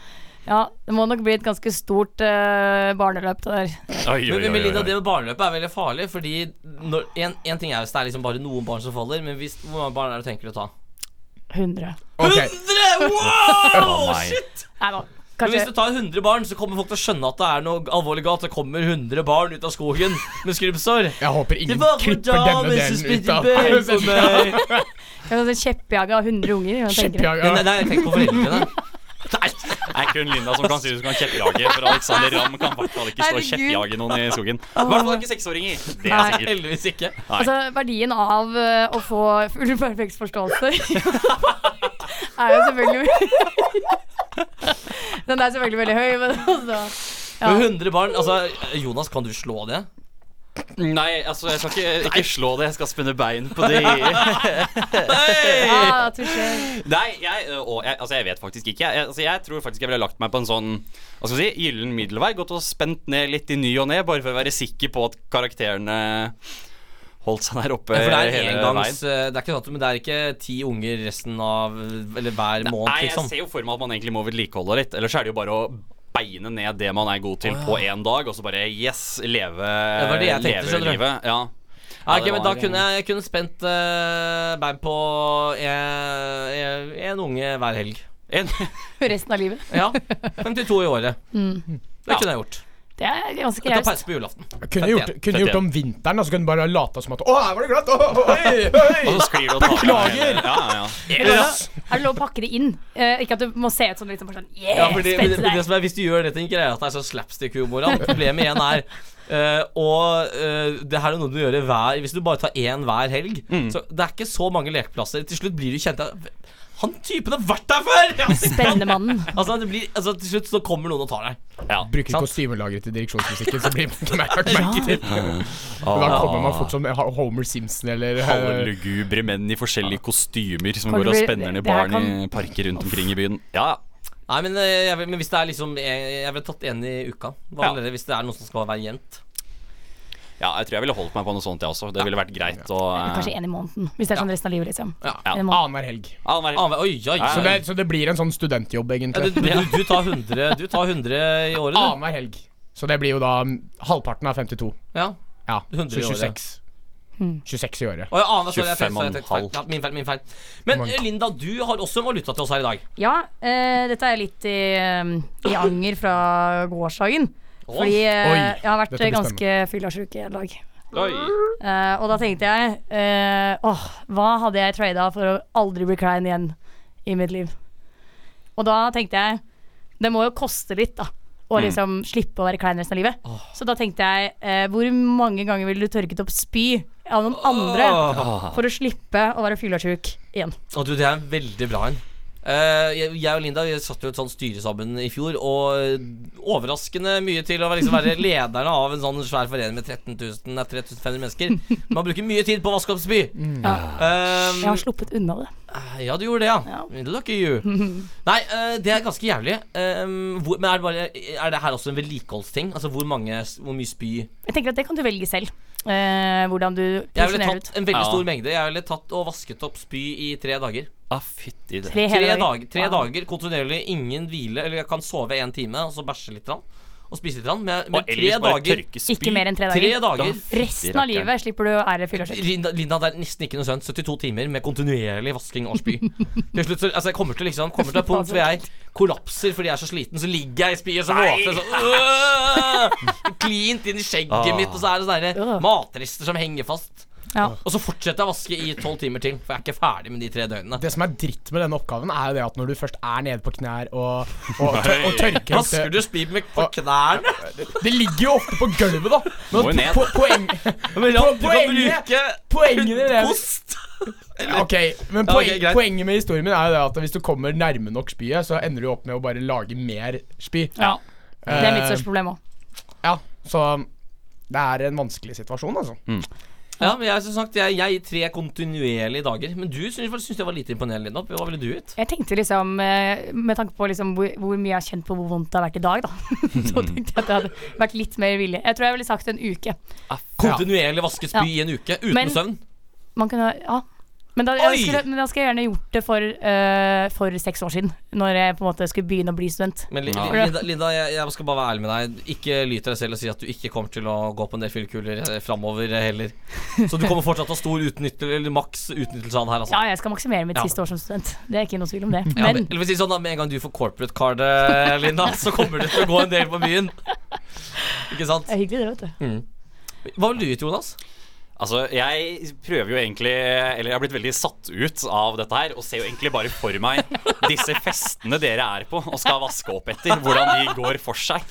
Ja, det må nok bli et ganske stort eh, barneløp, det der.
Men-
oi,
men
oi,
Linda,
oi.
det med barneløpet er veldig farlig, fordi når, en, en ting er hvis det er liksom bare noen barn som faller, men hvis, hvor mange barn er det du tenker å ta?
100.
100! Wow!
Å, nei.
Shit!
Nei da.
Men
Kanskje
hvis du tar 100 barn, så kommer folk til å skjønne at det er noe alvorlig galt. Det kommer 100 barn ut av skogen med skrubbsår.
Jeg håper
ingen klipper denne delen ut av- kanskje Kjeppjaga av 100 unger. hva tenker du?
Nei,
nei, tenk på foreldrene.
Det er kun Linda som kan si du kan kjeppjage, for Alexander Ramm kan i hvert fall ikke stå og
Herregud.
kjeppjage noen i skogen. I hvert fall ikke seksåringer. Det er
Nei.
sikkert.
Heldigvis ikke.
Altså, verdien av eh, å få full perfekt forståelse er jo selvfølgelig Den er selvfølgelig veldig høy, men altså ja.
Men 100 barn Altså, Jonas, kan du slå det?
Nei, altså, jeg skal ikke, ikke slå det. Jeg skal spenne bein på det.
Ja, touché.
Nei, jeg, øh, og jeg, altså, jeg vet faktisk ikke. Jeg, altså, jeg tror faktisk jeg ville lagt meg på en sånn hva skal jeg si, gyllen middelvei. Gått og spent ned litt i ny og ne, bare for å være sikker på at karakterene holdt seg der oppe
Ja, for det er
hele
engangs
veien.
eh, Det er ikke sant, men det er ikke ti unger resten av Eller hver måned,
Nei, jeg
liksom.
ser jo for meg at man egentlig må vedlikeholde litt. Ellers er det jo bare å beine ned det man er god til
Å, ja.
på én dag, og så bare yes, leve,
var det jeg tenkte,
leve
skjønner du.
livet. Ja.
Ja,
Ja,
ok, men
det var-
Da kunne jeg, jeg kunne spent eh, bein på én unge hver helg.
Resten av livet.
ja. 52 i året.
Mm.
Det kunne jeg gjort.
Det er ganske
Jeg tar
raust.
pause på julaften.
Kunne gjort,
51.
kunne gjort om vinteren, og så kunne du bare lata som at Å, her var det glatt! Å, oi, oi.
Og så sklir det og tar
Beklager!
Ja, ja,
Er det lov- er det lov å pakke det inn? Eh, ikke at du må se ut som liksom bare sånn Yeah,
Ja, for det,
spent
det, det som er, Hvis du gjør det til en greie at det er sånn slapstick-humor da, Problemet igjen er eh, og eh, det her er noe du gjør i hver Hvis du bare tar én hver helg Så Det er ikke så mange lekeplasser. Til slutt blir du kjent Han typen har vært der før! Ja,
Spennemannen.
Altså, det blir, altså, til slutt så kommer noen og tar deg.
Bruker kostymelageret til direksjonsmusikken, så blir det mer merket til.
Ah.
Da kommer man fort som Homer Simpson eller
Halve
eh,
lugubre menn i forskjellige kostymer som
Kan
går
det
og
bli-
spenner ned
det her
barn i parker rundt omkring i byen. Ja, ja.
Nei, men, eh, jeg, vil- men hvis det er liksom Jeg, jeg ville tatt en i uka. Hva
Ja.
ville dere hvis det er noen som skal være jent?
ja, jeg tror jeg ville holdt meg på noe sånt, jeg også. Det ville vært greit å eh,
Kanskje én i måneden, hvis det er sånn resten av livet, liksom.
Ja.
En måned.
annenhver helg.
Annenhver- Ah, Oi, oi, oi.
Så det, så det blir en sånn studentjobb,
Ja,
egentlig.
du, du, du tar 100 Du tar 100 i året, du.
Annenhver helg. Så det blir jo da mm, halvparten av 52.
Ja.
Ja,
100
så
i året.
26. 26 i året.
Å, ja, aner, sorry, ah, jeg tenkte-
25,5.
jeg tenkte feil. Ja, min feil, min feil. Men eh, Linda, du har også en valuta til oss her i dag.
Ja, eh, dette er litt i, eh, i anger fra gårsdagen. Fordi eh,
Oi,
jeg har vært
dette blir
ganske fyllasjuk i dag. Eh, og da tenkte jeg eh, Åh, hva hadde jeg trada for å aldri bli klein igjen i mitt liv? Og da tenkte jeg Det må jo koste litt, da. Å
Mm.
liksom slippe å være klein resten av livet. Så da tenkte jeg eh, Hvor mange ganger ville du tørket opp spy av noen andre
Åh.
for å slippe å være fyllasjuk igjen?
Å, du, det er en veldig bra en. Eh, jeg, jeg og Linda vi satt jo i et sånt styre sammen i fjor, og eh, overraskende mye til å være- liksom være lederne av en sånn svær forening med 13 000, nei, 3500 mennesker. Man bruker mye tid på å vaske opp spy.
Ja.
Eh,
Jeg har sluppet unna det.
ja, du gjorde det, ja. Lucky you. Nei, eh, det er ganske jævlig. Eh, hvor, men er det, bare, er det her også en vedlikeholdsting? Altså hvor, mange, hvor mye spy
Jeg tenker at det kan du velge selv. eh, hvordan du
Jeg ville
porsjonerer ut.
tatt en veldig stor mengde. Jeg ville tatt og vasket opp spy i tre dager.
Ah, fytti det.
Tre,
hele dager.
dager, tre
Wow.
dager kontinuerlig, ingen hvile. Eller jeg kan sove en time, og så bæsje litt. Rann, og spise litt. Rann, men men
Og
tre
ellers bare
dager
tørke
Ikke mer enn tre dager.
Tre dager.
Resten av livet slipper du å ære fyllesyk.
Linda, Linda, det er nesten ikke noe sønt. 72 timer med kontinuerlig vasking og spy. Til slutt, så, altså, jeg kommer til liksom Kommer til et punkt hvor jeg kollapser fordi jeg er så sliten. Så ligger jeg i spyet så
Nei!
våter jeg sånn øh, Klint inn i skjegget
Ah.
mitt, og så er det sånne her matrester som henger fast.
Ja.
Og så fortsetter jeg å vaske i tolv timer til, for jeg er ikke ferdig med de tre døgnene.
Det som er dritt med denne oppgaven, er jo det at når du først er nede på knær og, og, tør, og tørker ut
Vasker du spy med på knærne?
Det ligger jo ofte på gulvet, da.
Må jo
Men
ned.
po poeng,
Men ja, du
po
kan
poenget
bruke
Poenget i det
Post!
Ja, Ok, men
Ja,
poen
ok, greit.
poenget med historien min er jo det at hvis du kommer nærme nok spyet, så ender du opp med å bare lage mer spy.
Ja. Det er mitt
Eh,
største problem òg.
Ja, så det er en vanskelig situasjon, altså.
Mm. Ja, men jeg som sagt, jeg, jeg i tre kontinuerlige dager. Men du syns syns jeg var lite imponerende, Linda. Hva ville du gitt?
Jeg tenkte liksom, eh, med tanke på liksom hvor, hvor mye jeg har kjent på hvor vondt det har vært i dag, da. Så tenkte jeg at det hadde vært litt mer villig. Jeg tror jeg ville sagt en uke.
Kontinuerlig vaske spy
Ja.
i en uke uten
Men-
søvn?
Man kunne, ja men da,
Oi!
jeg skulle, men da skal jeg gjerne gjort det for, eh, for seks år siden. Når jeg på en måte skulle begynne å bli student.
Men Li-
For
Li-
det-
Linda, Linda jeg, jeg skal bare være ærlig med deg. Ikke lyt deg selv og si at du ikke kommer til å gå på en del fyllekuler eh, framover eh, heller. Så du kommer fortsatt til å ha stor utnyttelse, eller maks utnyttelse av det her, altså.
Ja, jeg skal maksimere mitt
Ja.
siste år som student. Det er ikke noe tvil om det.
Ja,
Men
men, eller for å si det sånn da, Med en gang du får corporate cardet, Linda, så kommer du til å gå en del på byen. Ikke sant?
det er hyggelig, det, vet du.
Mm. Hva ville du gitt, Jonas?
Altså, jeg prøver jo egentlig Eller jeg har blitt veldig satt ut av dette her Og ser jo egentlig bare for meg Disse festene dere er på Og skal vaske opp etter Hvordan de går for seg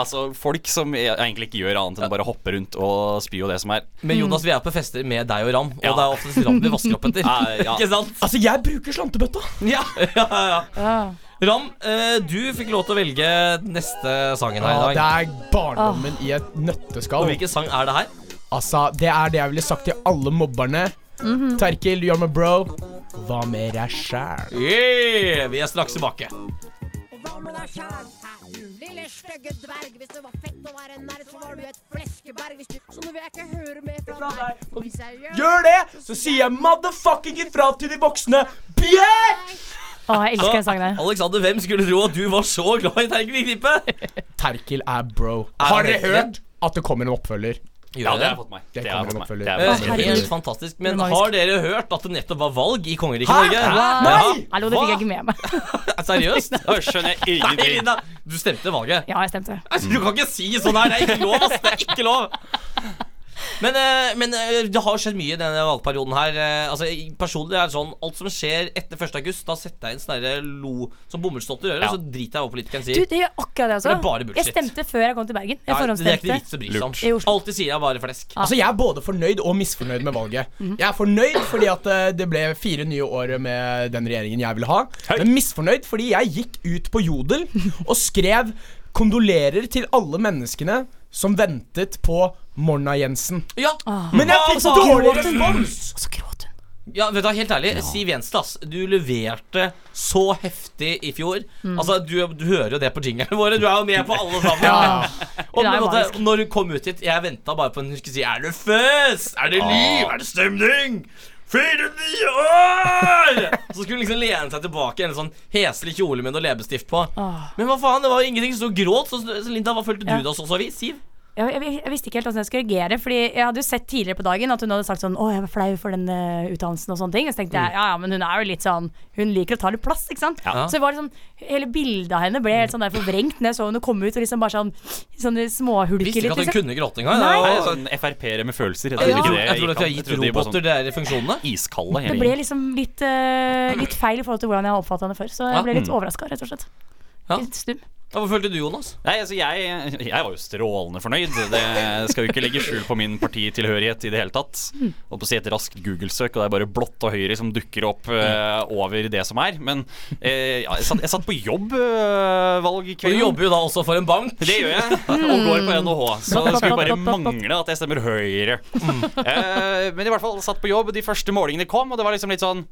Altså, folk som e- egentlig ikke gjør annet Enn å bare hoppe rundt og spy og det som er
Men
Hmm.
Jonas, vi er på fester med deg og Ram, og
Ja.
det er oftest Ram vi vasker opp etter.
Ja, ja.
Ikke sant?
Altså, jeg bruker slantebøtta.
Ja, ja, ja. Ram, eh, du fikk lov til å velge neste sangen her i
Ja, det
dag.
er barndommen i et nøtteskall.
Og hvilken sang er det her?
Altså, det er det jeg ville sagt til alle mobberne. Terkil, you're my bro. Hva med deg sjæl?
Yeah, vi er straks tilbake.
Lille stygge dverg, hvis det var fett å være en nerd, så var du et fleskeberg. Hvis du, så nå vil jeg ikke høre mer fra deg. Og hvis jeg gjør
Gjør det, så sier jeg motherfucking ifra til de voksne. Bjørn!
Å, jeg elsker den sangen der.
Alexander, hvem skulle tro at du var så glad i Terkel i Klippet?
Terkil er bro. Har dere hørt at det kommer en oppfølger?
Ja, det har jeg fått meg
Det
Det har jeg
kommer en
fått meg
oppfølger.
Det har jeg
Eh,
fått meg.
Helt fantastisk. Men
Det er
har dere hørt at det nettopp var valg i kongeriket
Hæ?
Norge?
Hæ?
Ja.
Nei!
Ah, Hallo, det fikk jeg ikke med meg.
Seriøst?
Da skjønner jeg
Nei,
ingenting
Linda, du stemte valget.
Ja, jeg stemte.
Altså, Du kan ikke si sånn her. Det er ikke lov, ass. Det er ikke lov. Men, eh, men eh, det har skjedd mye i denne valgperioden her. Eh, Altså, jeg- personlig er det sånn Alt som skjer etter 1. august, da setter jeg inn sånn derre lo som bomullsdotter i øret,
Ja.
så driter jeg i hva politikeren
Du,
sier.
det gjør akkurat det,
Det er bare
altså. Jeg
bullshit.
stemte før jeg kom til Bergen. Jeg
Nei, det er ikke noe
forhåndsstemte.
vits å bry seg om.
I Oslo.
Alltid sier jeg bare flesk.
Altså, Jeg er både fornøyd og misfornøyd med valget. Jeg er fornøyd fordi at eh, det ble fire nye år med den regjeringen jeg ville ha. Men misfornøyd fordi jeg gikk ut på Jodel og skrev 'Kondolerer til alle menneskene som ventet på Morna Jensen'.
Ja,
Ah.
Men jeg fikk
så
dårlig
gråt hun.
respons!
Og så gråt hun.
ja vet du, hva, helt ærlig, Siv Jensen, ass. Du leverte så heftig i fjor.
Mm.
Altså, du, du hører jo det på jinglene våre. Du er jo med på alle sammen.
Ja.
Og på
Det er
en
magisk.
måte, når hun kom ut hit, jeg venta bare på at hun skulle si Er det fest? Er det liv? Er det stemning? Fire nye år! Så skulle hun liksom lene seg tilbake i en sånn heslig kjole med noe leppestift på.
Åh.
Men hva faen, det var jo ingenting som gråt. Så, så Linda, hva følte du
Ja.
da så så vi? Siv?
Jeg, jeg, jeg visste ikke helt hvordan jeg skulle reagere. Fordi Jeg hadde jo sett tidligere på dagen at hun hadde sagt sånn Å, jeg var flau for den eh, utdannelsen og sånne ting. Og så tenkte jeg ja ja, men hun er jo litt sånn Hun liker å ta litt plass, ikke sant.
Mm. Ja.
Så det var liksom hele bildet av henne ble helt sånn der forvrengt når jeg så henne komme ut og liksom bare sånn Sånne småhulker
Visste ikke
litt.
at hun
Liksom.
kunne gråte engang.
Nei.
Det
Nei,
var-
sånn FRP-ere med følelser
Jeg
ikke
trodde-
det
jeg trodde at vi
gikk
har
an.
gitt
trodde de var
roboter de der funksjonene.
sånn Iskalde
Det
hele
ble
gjengen.
liksom litt, eh, litt feil i forhold til hvordan jeg har oppfatta henne før. Så jeg ble litt overraska, rett og slett.
Mm. Ja.
Litt stum.
Hva følte du, Jonas? Nei, altså jeg, jeg var jo strålende fornøyd. Det skal jo ikke legge skjul på min partitilhørighet i det hele tatt. Holdt på å si et raskt Google-søk, og det er bare blått og høyre som dukker opp eh, over det som er. Men eh, ja, jeg, satt, jeg satt på jobb uh,
Og
valgkvelden.
du jobber jo da også for en bank.
Det gjør jeg, og går på NHH. Så det skulle bare mangle at jeg stemmer Høyre. Eh, men i hvert fall satt på jobb, de første målingene kom, og det var liksom litt sånn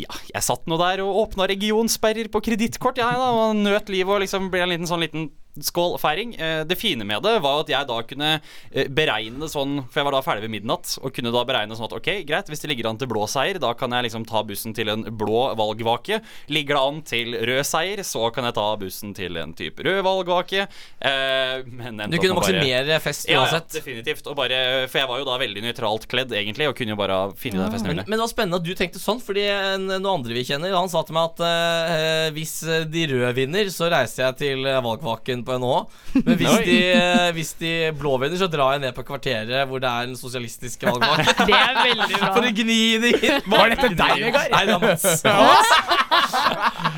ja, jeg satt nå der og åpna regionsperrer på kredittkort, jeg da, og nøt livet og liksom ble en liten sånn liten skålfeiring. Eh, Det fine med det var at jeg da kunne eh, beregne sånn, for jeg var da ferdig ved midnatt, og kunne da beregne sånn at ok, greit, hvis det ligger an til blå seier, da kan jeg liksom ta bussen til en blå valgvake. Ligger det an til rød seier, så kan jeg ta bussen til en type rød valgvake. Eh, men endte
Du
opp
kunne
med bare-
maksimere fest
Ja,
uansett.
Ja, definitivt. Og bare, for jeg var jo da veldig nøytralt kledd, egentlig, og kunne jo bare finne den festen jeg
Men,
ville.
men det var spennende at du tenkte sånn, fordi en, noen andre vi kjenner, han sa til meg at eh, hvis de røde vinner, så reiser jeg til eh, valgvaken på NHH. Men hvis
Oi.
de, eh, hvis de blå vinner, så drar jeg ned på kvarteret hvor det er den sosialistiske valgvaken.
Det er veldig bra.
For å gni det inn.
Var dette deg, Vegard?
Nei, det var Mats.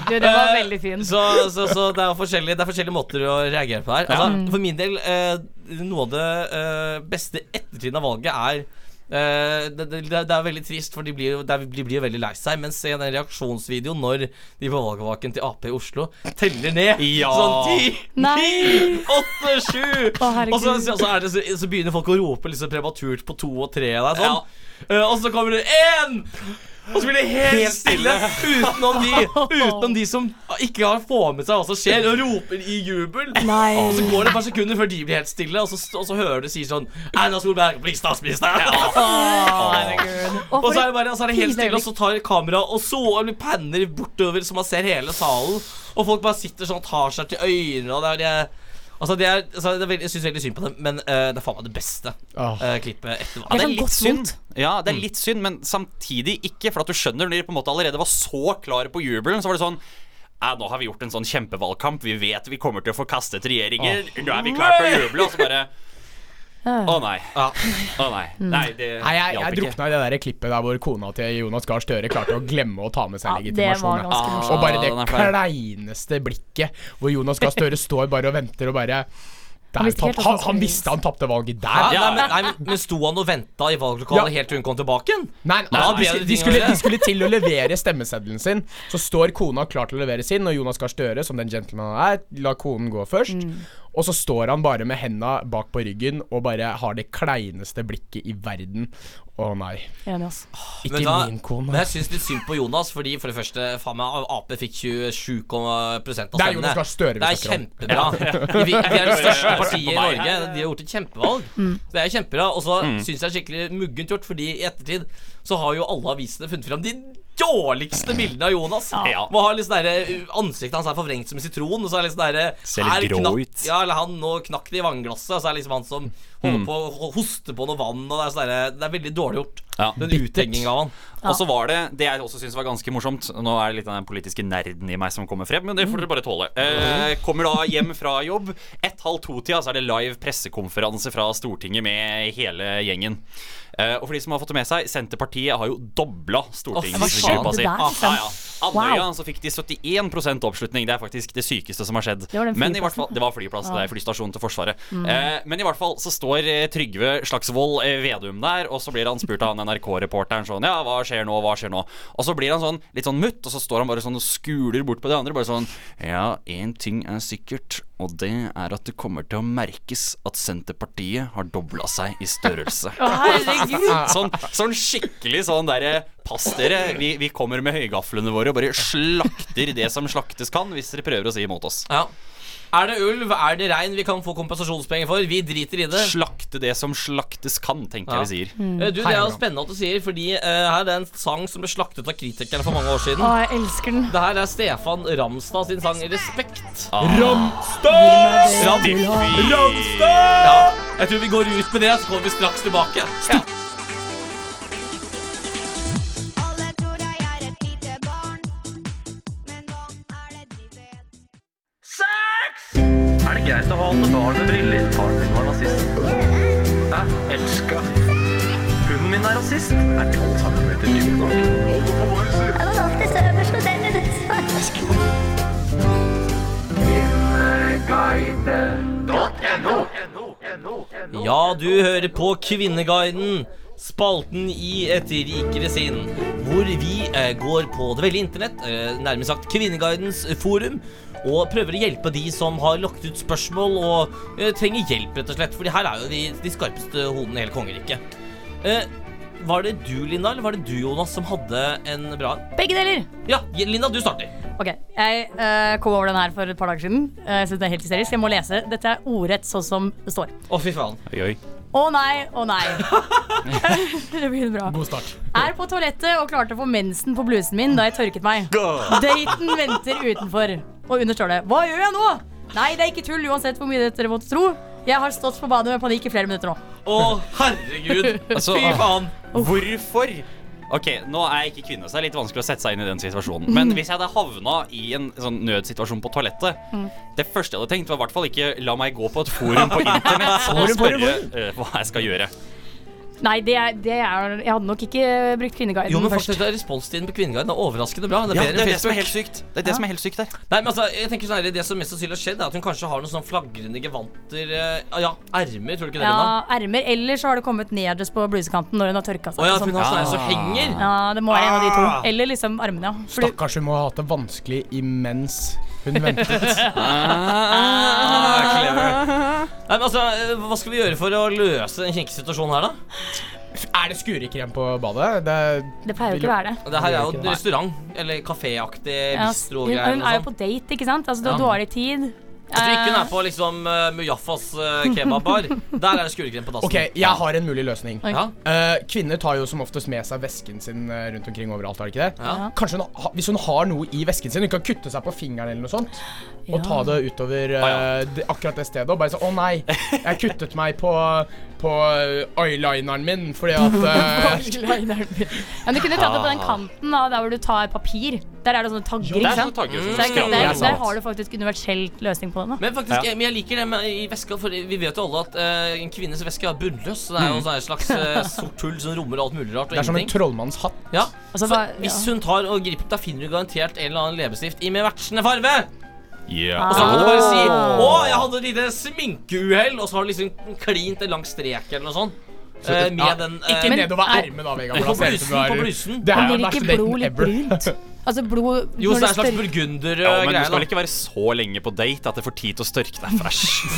Du, det var
Eh,
veldig fin.
Så, så, så det, er jo forskjellige, det er forskjellige måter å reagere på her. Altså, For min del, eh, noe av det eh, beste ettertiden av valget er eh, det, det, det er veldig trist, for de blir, jo- de blir jo veldig lei seg. Men se den reaksjonsvideoen når de på valgvaken til Ap i Oslo teller ned.
Ja.
Sånn ti,
Nei.
ni, åtte, sju!
herregud.
Og så, så, så, er det, så, så begynner folk å rope liksom prematurt på to og tre. Der, sånn. Eh, og så kommer det én! Og så blir det helt,
Helt
stille utenom de, utenom de som ikke har få med seg hva som skjer, og roper i jubel. Og så går det et par sekunder før de blir helt stille, og så, og så hører du sier sånn Erna Solberg, bli statsminister! Og så er det bare og så er det helt stille, og så tar kameraet og så og blir panner bortover, så man ser hele salen. Og folk bare sitter sånn og tar seg til øynene, og det er det Altså det er, altså det er veldig, Jeg syns veldig synd på dem, men eh, det er faen meg det beste eh, klippet etter
Ja, det er sånn
valget.
litt synd. Ja, det er litt synd, men samtidig ikke. For at du skjønner, når de på en måte allerede var så klare på jubelen, så var det sånn ja, nå har vi gjort en sånn kjempevalgkamp. Vi vet vi kommer til å få kastet regjeringer.
Åh.
Nå er vi klare til å juble. Og så bare Å nei. Å nei. Nei, det
Nei, jeg, jeg
hjalp ikke.
drukna i det der klippet der hvor kona til Jonas Gahr Støre klarte å glemme å ta med seg
Ja, det
legitimasjon.
var
ja.
ganske morsomt.
Og bare det
Ah, den er fæl.
kleineste blikket hvor Jonas Gahr Støre står bare og venter og bare
Han
der,
visste helt
han,
hva
han,
som
han visste han tapte valget
Ja,
der!
nei, men, nei, men- men Sto han og venta i valglokalet helt til hun kom tilbake igjen?
Nei,
Da
altså,
hadde
de,
bedre
skulle,
ting
de,
å
skulle,
gjøre.
de skulle til å levere stemmeseddelen sin. Så står kona klar til å levere sin, og Jonas Gahr Støre, som den gentlemanen han er, lar konen gå først. Og så står han bare med henda bak på ryggen og bare har det kleineste blikket i verden. Å nei.
Enig, ass.
Ikke
Men da-
min kone.
Men jeg syns litt synd på Jonas, fordi for det første, faen meg, Ap fikk 27 av stemmene.
Det er Jonas Gahr Støre vi
Det er
snakker om.
kjempebra.
Ja.
Vi, vi er det største
Ja.
partiet i
På meg.
Norge. De har gjort et kjempevalg.
Mm.
Så det er kjempebra. Og så
Mm.
synes syns jeg det er skikkelig muggent gjort, fordi i ettertid så har jo alle avisene funnet fram de dårligste bildene av Jonas.
Ja.
Man har litt sånn derre- Ansiktet hans er forvrengt som sitron, og så er det litt sånn derre
Ser litt
her
grå
knakk-
ut.
Ja, eller han nå knakk det i vannglasset, og så er det liksom han som holder
Mm.
på å hoste på noe vann, og det er sånn derre Det er veldig dårlig gjort.
Ja.
Den uthengingen av han.
Og så var det det jeg også syns var ganske morsomt Nå er det litt av den politiske nerden i meg som kommer frem, men det får dere bare tåle.
Mm.
Eh, kommer da hjem fra jobb. Ett halv to-tida så er det live pressekonferanse fra Stortinget med hele gjengen. Eh, og for de som har fått det med seg, Senterpartiet har jo dobla
faen,
stortingsgruppa
det
si.
der, liksom.
ja. Andøya
Wow.
så fikk de 71 oppslutning. Det er faktisk det sykeste som har skjedd.
Det var den
Men i hvert
flyplassen.
fall, det var flyplass, det
Ja.
er flystasjonen til Forsvaret.
Mm.
Eh, men i hvert fall så står eh, Trygve Slagsvold eh, Vedum der, og så blir han spurt av han NRK-reporteren sånn Ja, hva skjer nå, hva skjer nå? Og så blir han sånn litt sånn mutt, og så står han bare sånn og skuler bort på de andre, bare sånn Ja, én ting er sikkert, og det er at det kommer til å merkes at Senterpartiet har dobla seg i størrelse.
Å, herregud.
sånn, sånn skikkelig sånn derre Pass dere, vi, vi kommer med høygaflene våre og bare slakter det som slaktes kan, hvis dere prøver å si imot oss.
Ja. Er det ulv, er det rein vi kan få kompensasjonspenger for? Vi driter i det.
Slakte det som slaktes kan, tenker jeg vi sier.
Mm. Eh, Du, Det er jo spennende at du sier, fordi eh, her er det en sang som ble slaktet av kritikerne for mange år siden.
Å, jeg elsker den.
Det her er Stefan Ramstad sin sang 'Respekt'.
Ah.
Ram-
Ramstad! Ramstad!
Ja, jeg tror vi går ut med det, så kommer vi straks tilbake. Ja.
Er det greit å ha alle barn med briller? Faren min var nazist. Jeg elska. Hunden min er rasist. Er det alle sammen med til dypt nok?
Du hører på Kvinneguiden, spalten i Et rikere sinn, hvor vi eh, går på det veldige internett, eh, nærmest sagt Kvinneguidens forum, og prøver å hjelpe de som har lagt ut spørsmål og eh, trenger hjelp, rett og slett. For her er jo de, de skarpeste hodene i hele kongeriket. Eh, var det du, Linda, eller var det du, Jonas, som hadde en bra en?
Begge deler.
Ja, Linda, du starter.
Ok, Jeg eh, kom over den her for et par dager siden. Eh, jeg synes det er helt hysterisk. Jeg må lese. Dette er ordrett sånn som det står.
Å, fy faen.
Å nei, å nei. det blir bra.
God start.
Er på toalettet og klarte å få mensen på blusen min da jeg tørket meg. Daten venter utenfor. Og under står det Hva gjør jeg nå? Nei, det er ikke tull, uansett hvor mye dere måtte tro. Jeg har stått på badet med panikk i flere minutter nå.
Å, herregud.
Altså,
Fy faen.
Hvorfor? Ok, Nå er jeg ikke kvinne, så det er litt vanskelig å sette seg inn i den situasjonen.
Mm.
Men hvis jeg hadde havna i en sånn nødsituasjon på toalettet
Mm.
Det første jeg hadde tenkt, var i hvert fall ikke la meg gå på et forum på internett og
Forum, forum,
spørre eh, hva jeg skal gjøre.
Nei, det er, det er Jeg hadde nok ikke brukt Kvinneguiden
Jo, men
først.
faktisk er responstiden på Kvinneguiden er overraskende bra. bedre
Ja, det er
enn
det som er
Facebook.
helt sykt. Det er det som er helt sykt der.
Nei, men altså, jeg tenker sånn, her, Det som mest sannsynlig har skjedd, er at hun kanskje har noen sånne flagrende gevanter eh, Ja, ermer, tror du ikke det, Linda?
Ja, ermer. Eller så har det kommet nederst på blusekanten når hun har tørka seg.
Å ja,
og sånn.
hun har sånne her som henger.
Ja, det må være en av de to.
Ah.
Eller liksom armene, ja. For du-
Stakkars, hun må ha hatt det vanskelig imens hun ventet.
Ah, clever. Nei, men altså, eh, Hva skal vi gjøre for å løse den kinkige situasjonen her, da?
Er det skurekrem på badet? Det,
Det pleier jo ikke å være det.
Det her er jo en
Nei.
restaurant, eller kaféaktig
Ja, s- hun,
bistrogreier.
hun er jo på date, ikke sant? Altså, du har
Ja.
dårlig tid.
Jeg tror ikke hun er på liksom eh, Mujaffas eh, kebabbar. Der er det skurekrem på dassen.
Ok, jeg har en mulig løsning.
Oi. Ja.
Eh, kvinner tar jo som oftest med seg vesken sin eh, rundt omkring overalt. har de ikke det?
Ja.
Kanskje hun ha, Hvis hun har noe i vesken sin, hun kan kutte seg på fingeren eller noe sånt.
Ja.
Og ta det utover
Ah,
eh, det, akkurat det stedet. Og bare sånn Å nei, jeg kuttet meg på, på eh, eyelineren min fordi at eh,
Men du kunne tatt det på den
Ah.
kanten da, der hvor du tar papir. Der er det sånne tagger.
Jo, der
ikke
er
sant?
sånne tagger,
Så
sånn
det er
skraper.
ikke- der,
Det er sant.
der har du faktisk universell løsning på den. da
Men faktisk,
Ja.
jeg, men jeg liker det med i veska, for vi vet jo alle at eh, en kvinnes veske er bunnløs. Så det er jo
Mm.
sånn et slags eh, sort hull som rommer alt mulig rart. Og
Det er som en
ingenting.
trollmanns hatt.
Ja,
Altså,
så Hvis hun tar og griper, da finner du garantert en eller annen leppestift i med vertsende farve.
Yeah.
Ah.
Og så kan du
Ah.
bare si
Åh.
'Å, jeg hadde et lite sminkeuhell', og så har du liksom klint en lang strek eller noe sånt.
Så-
eh, med
ja,
den
ikke
eh,
nedover
er-
armen da, Vegard,
På
for da ser det
blusen.
ut som du
På
har-
blusen.
Det er
Men blir
den
ikke
verste daten
blod litt
ever.
Altså blod
Jo,
når
så det er
det
en slags
større-
burgundergreie.
Ja, men du
da.
skal ikke være så lenge på date at det får tid til å størke deg for æsj.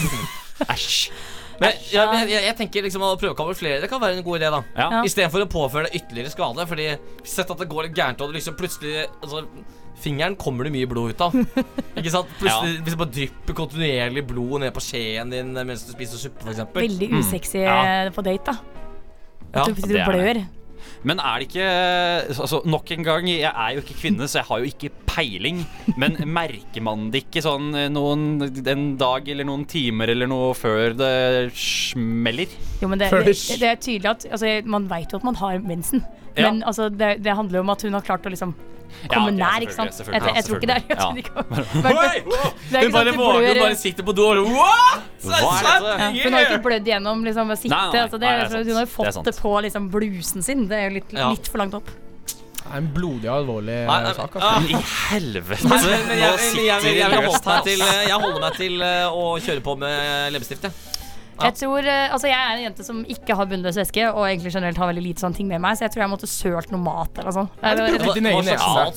Æsj.
Men ja, men jeg, jeg, jeg tenker liksom å prøve å kamuflere det kan være en god idé. da
Ja.
Istedenfor å påføre deg ytterligere skade. Fordi Sett at det går litt gærent, og du liksom plutselig altså, Fingeren kommer det mye blod ut av. Ikke sant? Plutselig Hvis det bare drypper kontinuerlig blod ned på skjeen din eh, mens du spiser suppe, f.eks.
Veldig usexy eh, på date, da.
Ja,
At du
det
sitter
er
og blør.
det. Men er det ikke altså, Nok en gang, jeg er jo ikke kvinne, så jeg har jo ikke peiling. Men merker man det ikke sånn noen, en dag eller noen timer eller noe før det smeller?
Jo, men det, det, det er tydelig at altså, Man vet jo at man har mensen.
Ja.
Men altså, det, det handler jo om at hun har klart å liksom
Ja,
komme
ja,
nær, ikke sant? Jeg,
selvfølgelig,
jeg, tror ikke det er
selvfølgelig.
jeg tror ikke-
Oi!
Det er
Hun
ikke sant
bare
at du
våger,
blør-
hun bare sitter på do og What?!
Hva er dette?
Ja, Hun har jo ikke blødd gjennom liksom, ved å sitte.
Nei, nei,
altså, det,
nei,
er,
det er
hun har jo
sant. Det er
fått
sant.
det, på liksom, blusen sin. Det er jo litt,
Ja.
litt for langt opp.
Det er en blodig og alvorlig
Nei, nei,
sak.
ah.
Altså.
I
helvete!
Nei, men, men jeg,
Nå
men jeg,
sitter
jeg, jeg,
det
holder
løst
meg
her,
til, eh, jeg holder meg til eh, å kjøre på med leppestift. jeg. Ja.
Jeg tror, eh, altså jeg er en jente som ikke har bunnløs væske, og egentlig generelt har veldig lite sånne ting med meg, så jeg tror jeg måtte sølt noe mat eller sånn. Eh, noe sånt.
Hva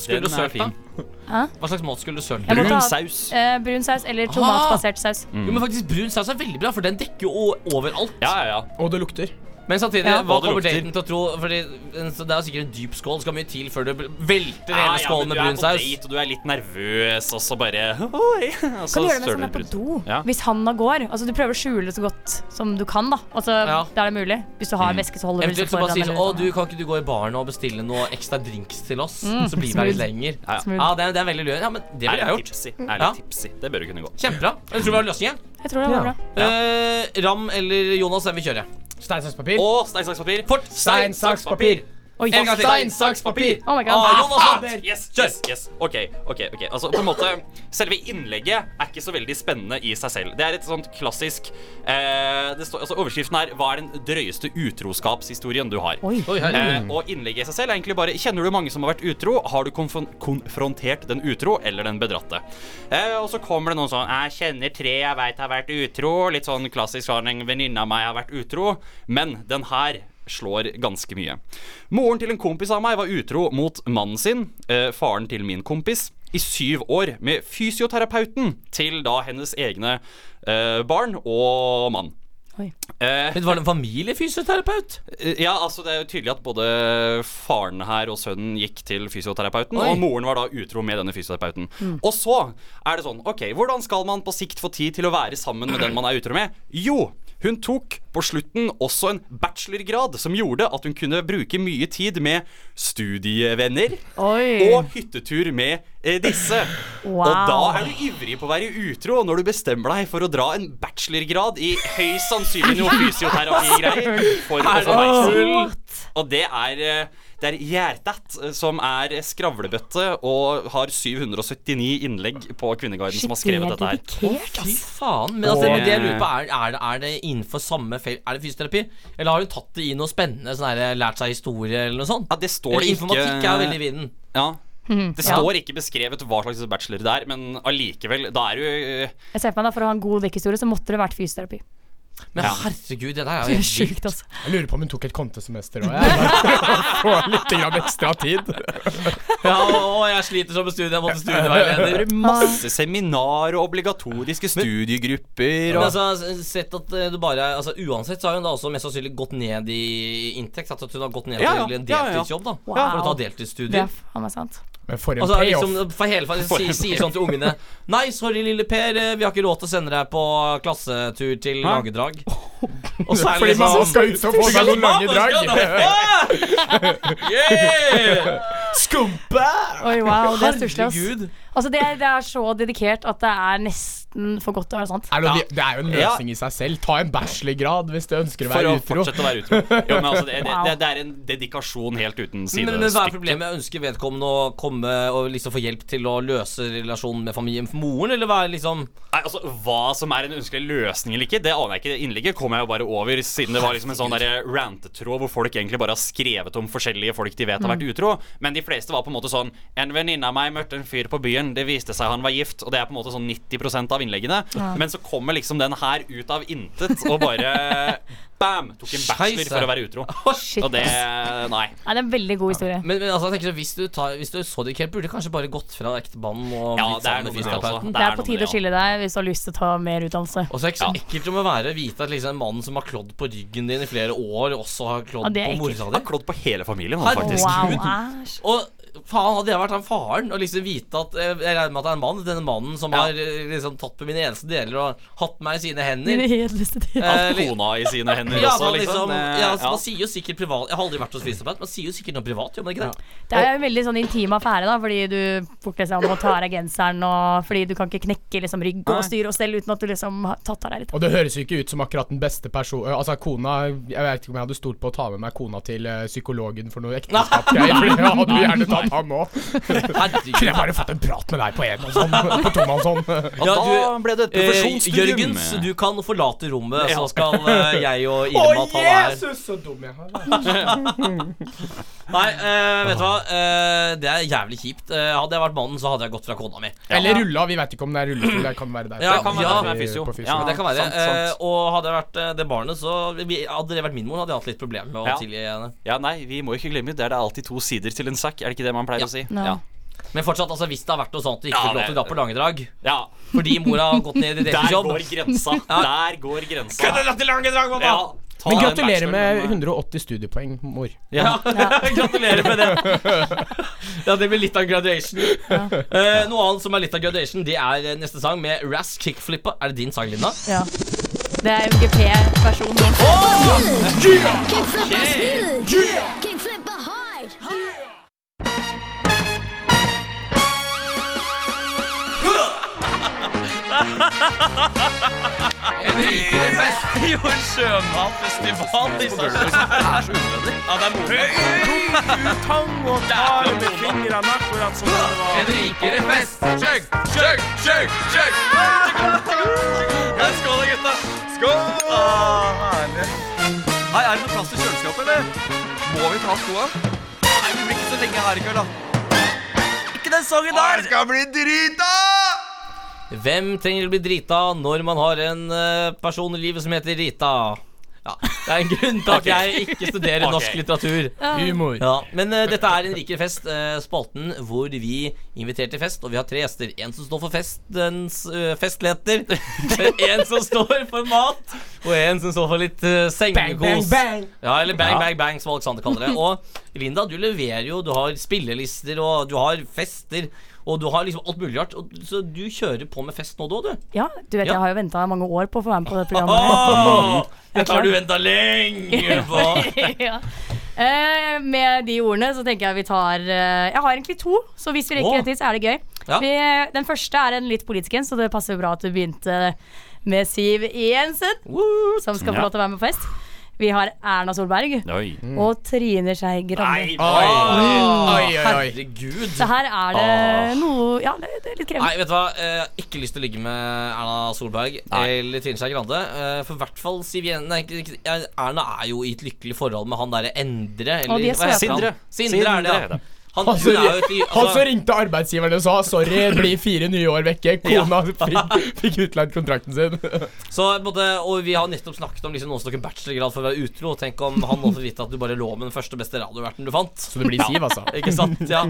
Jeg-
hva slags mat skulle du sølt,
Den er
da?
Hæ?
Hva slags mat skulle du sølt?
Jeg måtte ha, eh, brun saus eller tomatbasert saus.
Mm.
Ah! Jo, men faktisk Brun saus er veldig bra, for den dekker jo o- overalt.
Og det lukter.
Men samtidig,
Ja.
hva
Og det
kommer
lukter.
daten til å tro? Fordi en- så Det er jo sikkert en dyp skål. Det skal mye til før du bl- velter
Ja,
hele
ja,
skålen
men
med
du er
brun
på
saus.
date, og du er litt nervøs, og så bare
Kan
og så
du gjøre det mens
søler
han er på
brun-
do?
Ja.
Hvis han da går. Altså Du prøver å skjule det så godt som du kan, da. Altså
Ja.
Der det er mulig. Hvis du har
Mm.
væske, så holder du liksom
Eventuelt så bare sier sånn Å, du, kan ikke du gå i baren og bestille noe ekstra drinks til oss?
Mm,
Så blir vi her litt
smooth.
lenger. Ja,
Smooth.
det, er, det er veldig lurt. Ja, men det ville
Er litt
jeg gjort.
tipsy. Er litt
Ja.
tipsy. Det bør jo kunne gå.
Kjempebra. Jeg tror vi har løsningen.
Jeg tror det var bra.
Eh, Ram eller Jonas, hvem vil kjøre?
Stein, saks, papir.
Og stein, saks, papir. Fort!
Stein, saks, papir.
Oi.
En gang til.
Stein, saks, papir.
Oh my god.
Ah, Jonas
Ah,
vant! Yes, yes, yes. OK. ok, ok. Altså, på en måte, Selve innlegget er ikke så veldig spennende i seg selv. Det er et sånt klassisk eh, det står, altså, Overskriften er 'Hva er den drøyeste utroskapshistorien du har?'
Oi. Oi, herregud.
Eh, og innlegget i seg selv er egentlig bare 'Kjenner du mange som har vært utro? Har du konfron konfrontert den utro eller den bedratte?' Eh, og så kommer det noen sånn 'Jeg kjenner tre jeg veit har vært utro'. Litt sånn klassisk sånn 'En venninne av meg har vært utro'. Men den her slår ganske mye. Moren til en kompis av meg var utro mot mannen sin, eh, faren til min kompis, i syv år med fysioterapeuten til da hennes egne eh, barn og mann. Eh, Men
var det en familiefysioterapeut?
Ja, altså det er jo tydelig at både faren her og sønnen gikk til fysioterapeuten,
Oi.
og moren var da utro med denne fysioterapeuten.
Mm.
Og så er det sånn, ok, hvordan skal man på sikt få tid til å være sammen med den man er utro med? Jo, hun tok på slutten også en bachelorgrad som gjorde at hun kunne bruke mye tid med studievenner
Oi.
og hyttetur med eh, disse.
Wow.
Og da er du ivrig på å være utro når du bestemmer deg for å dra en bachelorgrad i høyst sannsynlig noe fysioterapigreier for å
Er det så
få oppmerksomhet. Og det er eh, det er Gjerdat eh, som er skravlebøtte og har 779 innlegg på Kvinneguiden som har skrevet dette her.
Fy faen. Men altså,
Og-
men det jeg lurer på er, er, det, er det innenfor samme felt Er det fysioterapi? Eller har hun tatt det i noe spennende? Sånn her, lært seg historie eller noe sånt?
Ja, det står
eller
ikke-
informatikk er jo veldig i vinden.
Ja.
Mhm.
Det
Ja.
står ikke beskrevet hva slags bachelor det er, men allikevel, da er du eh,
Jeg ser på meg da, For å ha en god dekkhistorie så måtte det vært fysioterapi.
Men herregud, det der
er jo helt Det er sjukt, altså.
Jeg lurer på om hun tok et kontesemester òg, jeg. Får litt grann ekstra tid.
Ja, og jeg sliter som en studie. Jeg måtte studieveileder.
Ah,
Masse seminar og obligatoriske studiegrupper
Men
og
altså, sett at eh, du bare altså, Uansett så har hun da også mest sannsynlig gått ned i inntekt. At hun har gått ned
Ja, ja.
til en
Ja, ja.
deltidsjobb, da.
Wow.
For å ta
Det
deltidsstudier.
er faen meg sant.
Men for en
Altså,
payoff.
liksom, for hele fall,
For
sier,
en
sier sånn til ungene Nei, sorry, lille Per, eh, vi har ikke råd til å sende deg på klassetur til
Hæ?
Langedrag. Og så er
Fordi
det
man
liksom
skal ut og få seg noen lange
drag. yeah! Skumpa!
Oi, wow, det er stusslig,
Herregud.
ass. Altså, det, er, det er så dedikert at det er nesten for godt til å være sant.
Er det, noe- det er jo en løsning i seg selv. Ta en bachelorgrad hvis du ønsker å
For
være
å
utro.
fortsette å være utro. Jo, men altså, det, det, det, det er en dedikasjon helt uten
Men, men hva er
sidestykke.
problemet? Jeg ønsker vedkommende å komme og liksom få hjelp til å løse relasjonen med familien for moren, eller hva er liksom
Nei, altså, Hva som er en ønskelig løsning eller ikke, det aner jeg ikke. Det Innlegget kom jeg jo bare over, siden det var liksom en sånn der rantetråd hvor folk egentlig bare har skrevet om forskjellige folk de vet har vært
Mm.
utro. Men de fleste var på en måte sånn En venninne av meg møtte en fyr på byen, det viste seg han var gift, og det er på en måte sånn 90 av innleggene.
Ja.
Men så kommer liksom den her ut av intet og bare bam! Tok en bachelor
Scheisse.
for å være utro. Og det Nei.
Nei, det er en veldig god historie.
Men, men altså, jeg tenker så hvis du, tar, hvis du er så dedikert, burde du kanskje bare gått fra ektemannen og
Ja,
blitt
det er
sammen med
noe med det altså. også.
fysioterapeuten.
Det er på tide å skille deg hvis du har lyst til å ta mer utdannelse.
Og så er det ikke så ekkelt om å være vite at liksom en mann som har klådd på ryggen din i flere år, også har klådd
Ja, det er
på mora
ekkelt.
di.
Han klådd på hele familien,
han,
faktisk.
Wow, æsj.
Og faen, hadde jeg vært han faren og liksom vite at eh, Jeg regner med at det er en mann, denne mannen som har eh, liksom tatt på mine eneste deler og hatt meg i sine hender.
Mine edleste deler.
Eh,
Hatt kona i sine hender
ja,
også,
man
liksom.
liksom.
Eh,
Ja, altså,
ja.
Man sier jo sikkert privat Jeg har aldri vært hos fysioterapeut, man sier jo sikkert noe privat, gjør man ikke det?
Det er jo en veldig sånn intim affære, da, fordi du fortere seg om å ta av deg genseren, og fordi du kan ikke knekke liksom, rygg og
Nei.
styre og stell uten at du liksom har tatt av deg litt.
Og det høres jo ikke ut som akkurat den beste personen Altså kona Jeg vet ikke om jeg hadde stolt på å ta med meg kona til eh, psykologen for noe ekteskap. Jeg hadde jo gjerne tatt han òg. Kunne jeg bare fått en prat med deg på en og sånn? På tomannshånd.
Ja, du- eh,
profesjonsstudium.
Jørgens, du kan forlate rommet,
Ja.
så skal eh, jeg og Irma ta deg her.
så dum jeg har
Nei, eh, vet du hva? Eh, det er jævlig kjipt. Eh, hadde jeg vært mannen, så hadde jeg gått fra kona mi.
Eller rulla, vi vet ikke om det er rullestol. Det kan være der.
Ja,
Det kan være
ja,
der
det er
i-
fysio.
på fysio.
Ja, det kan være.
Sant, sant.
Eh, og hadde jeg vært eh, det barnet, så vi, Hadde det vært min mor, hadde jeg hatt litt problemer med å
Ja.
tilgi henne.
Ja, nei, vi må ikke glemme det er det alltid to sider til en sak. Er det ikke det man pleier å si?
Nei.
Ja.
Men fortsatt, altså, hvis det har vært noe sånt at du ikke
Ja,
får lov til å dra
det-
på langedrag
ja.
fordi mora har gått ned i
Der
deltidsjobb
går grensa. Der går grensa.
Kunne dratt i langedrag, mamma!
Ja, ta
Men
den
gratulerer med
bacheloren,
180 studiepoeng, mor.
Ja. Gratulerer med det. Ja, det blir litt av graduation. Eh, noe annet som er litt av graduation, det er eh, neste sang med Razz Kickflippa. Er det din sang, Linda?
Ja. Det er MGP-versjonen.
En rikere fest jo en sjømatfestival, disse
liksom.
Ja, det er moro. Tang og tar med fingrene akkurat som det var. En rikere fest. Sjøg, sjøg, sjøg, sjøg. Skål, da, gutta. Skål. Ah, herlig. Hei, er det noe plass til kjøleskapet, eller? Må vi ta skoa? Nei, vi blir ikke så lenge her i kveld, da. Ikke den sangen der! Det skal bli drita!
Hvem trenger å bli drita når man har en eh, person i livet som heter Rita? Ja, Det er en grunn til at
Ok.
jeg ikke studerer
Ok.
norsk litteratur.
Ja. Humor.
Ja, men eh, dette er En rikere fest, eh, spalten hvor vi inviterer til fest. Og vi har tre gjester. En som står for festens eh, festleter. en som står for mat. Og en som står for litt eh,
bang,
sengekos.
bang.
Ja, eller bang,
Ja.
bang, bang, som Alexander kaller det. Og Linda, du leverer jo. Du har spillelister, og du har fester. Og du har liksom alt mulig rart. Og, så du kjører på med fest nå, da, du.
Ja, du vet
Ja.
jeg har jo venta mange år på å få være med på det programmet.
Åh,
Jeg er
dette har du
klar.
venta lenge på!
ja. Eh, med de ordene så tenker jeg vi tar eh, Jeg har egentlig to, så hvis vi rekker
Åh.
en til, så er det gøy.
Ja.
Vi, den første er en litt politisk en, så det passer bra at du begynte med Siv Jensen, som skal få
Ja.
lov til å være med på fest. Vi har Erna Solberg
Oi.
og Trine Skei Grande.
Herregud.
Så her er det noe Ja, det, det er litt
Nei,
krevende.
vet du hva? Eh, Jeg har ikke lyst til å ligge med Erna Solberg eller Trine Skei Grande. Eh, For i hvert fall Siv Jen... Nei, ikke- ikke- ja, Erna er jo i et lykkelig forhold med han derre Endre.
Å, de er
hva heter
søte.
han? Sindre.
Sindre.
er det. Han,
Han,
hun er jo et,
som-
li-
han som
altså,
ringte arbeidsgiveren og sa 'sorry, blir fire nye år vekke'. Kona fikk, fikk utleid kontrakten sin.
så, på en måte, og vi har nettopp snakket om liksom, noen som tok en bachelorgrad for å være utro. Tenk om han nå får vite at du bare lå med den første beste radioverten du fant. Så
det blir Siv, altså.
Ikke sant? Ja.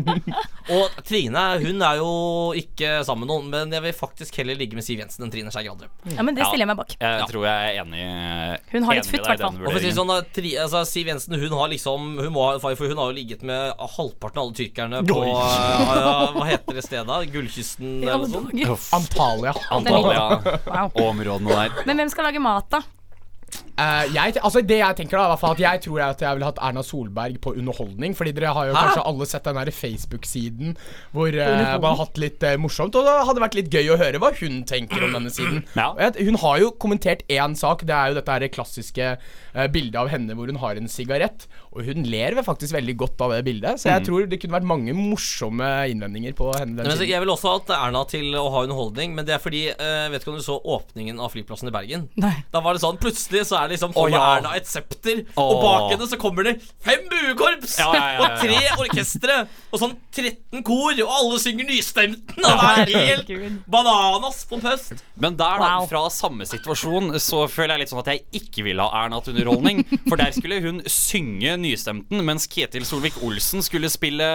Og Trine hun er jo ikke sammen med noen, men jeg vil faktisk heller ligge med Siv Jensen enn Trine Skei Grande.
Ja, men det stiller jeg meg bak.
Jeg tror jeg er enig
Hun har litt futt, hvertfall.
Og for å si det sånn, da, Tri, altså, Siv Jensen hun har liksom Hun, må, ha- for hun har jo ligget med halvparten av alle tyrkerne på
Oi.
eh, ja, Hva heter det stedet? da? Gullkysten eller noe sånt?
Uff. Antalya.
Antalya.
Wow.
Og områdene der.
Men hvem skal lage mat, da?
Eh, jeg, altså det Jeg tenker da i hvert fall at jeg tror at jeg ville hatt Erna Solberg på underholdning. Fordi dere har jo
Hæ?
kanskje alle sett den her Facebook-siden hvor eh,
Underholdning?
man har hatt litt eh, morsomt. Og det hadde vært litt gøy å høre hva hun tenker om denne siden. Og jeg, hun har jo kommentert én sak. Det er jo dette her klassiske eh, bildet av henne hvor hun har en sigarett. Og hun ler vel faktisk veldig godt av det bildet. Så jeg
Mhm.
tror det kunne vært mange morsomme innvendinger på henne.
Nei,
den
men så-
siden
jeg vil også ha at Erna til å ha underholdning, men det er fordi eh, Vet ikke om du så åpningen av flyplassen i Bergen? Da var det sånn Plutselig så er det liksom
Å,
Holder
ja.
Erna et septer,
Åh.
og bak henne så kommer det fem buekorps!
Ja, ja, ja, ja,
Og tre
ja.
orkestre! Og sånn 13 kor, og alle synger nystemten! Og det er helt bananas på pøst!
Men der, da, fra samme situasjon, så føler jeg litt sånn at jeg ikke vil ha Erna til underholdning. For der skulle hun synge Nystemten, mens Ketil Solvik-Olsen skulle spille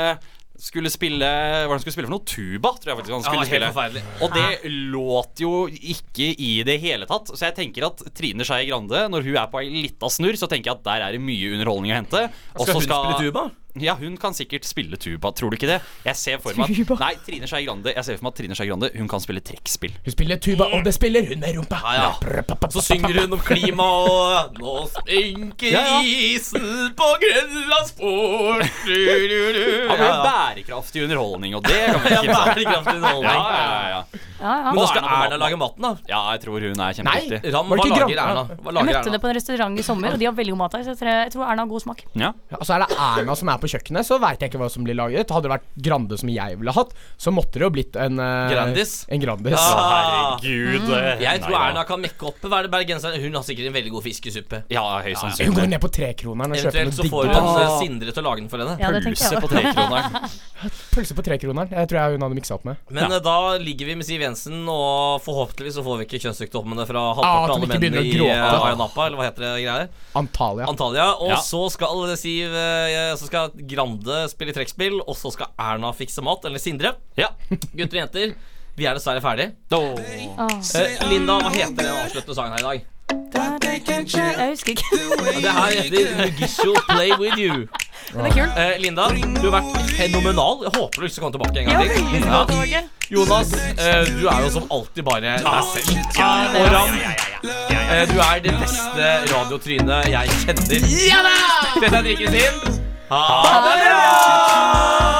skulle spille Hva var det han skulle spille for noe? Tuba, tror jeg faktisk han
Ja,
skulle
helt
spille.
forferdelig.
Og det låt jo ikke i det hele tatt. Så jeg tenker at Trine Skei Grande, når hun er på ei lita snurr, så tenker jeg at der er det mye underholdning å hente. Og
Skal
så
hun spille tuba?
Ja, hun kan sikkert spille tuba, tror du ikke det? Jeg ser for meg at, nei, Trine Skei Grande, jeg ser for meg at Trine Skei Grande Hun kan spille trekkspill.
Hun spiller tuba, og det spiller hun med rumpa.
Ja, Mm. ja. Så synger hun om klima og Nå stinker
Ja, ja.
isen på Grønlands port. Du, du, du.
Ja, men bærekraftig underholdning, og det kan vi
Ja,
ikke
bærekraftig underholdning.
Ja, ja, ja,
Ja, ja.
Men da
skal
skal Erna
Erna
lage
maten, da?
Ja, jeg tror hun er
Nei,
kjempedyktig.
Ram, Var det hva ikke lager Gran- Erna?
Jeg møtte henne på en restaurant i sommer, og de har veldig god mat der. Så jeg tror- jeg tror Erna har god smak.
Ja.
Og så er det Erna som er på kjøkkenet, så veit jeg ikke hva som blir laget. Hadde det vært Grande som jeg ville hatt, så måtte det jo blitt en eh,
Grandis?
En Grandis.
Ah.
Mm.
eh,
Jeg tror
nei da.
Erna kan mekke opp Hva er det bergenseren Hun har sikkert en veldig god fiskesuppe.
Ja, høyst sannsynlig.
Hun går ned på trekroneren og kjøper
Eventuelt
noe
så
digg.
får hun eh, Sindre til å lage den for henne.
Ja, det tenkte jeg Pølse på også. trekroneren. Pølse på trekroneren. Jeg tror jeg hun hadde miksa opp med.
Men eh, da ligger vi med Siv Jensen, og forhåpentligvis så får vi ikke kjønnssykdommene fra
Ah, at
halvparten av
hun
alle
ikke
mennene i
begynner å
eh,
gråte.
Ayia Napa, eller hva heter det greier?
Antalya.
Antalya. Og
Ja.
så skal Siv eh, Så skal Grande spille trekkspill, og så skal Erna fikse mat. Eller Sindre. Gutter og jenter, vi er dessverre ferdig. Eh, Linda, hva heter den avsluttende sangen her i dag?
Jeg husker ikke.
Det her heter Mugisho Play With You.
Den er kul.
Eh, Linda, du har vært fenomenal. Jeg håper du ikke skal komme tilbake en gang til. Ja. Jonas, eh, du er jo som alltid bare deg selv. Og Ram, eh, du er det beste radiotrynet jeg kjenner.
Ja da!
Dette er Drikkes inn. Ha
Ha det bra!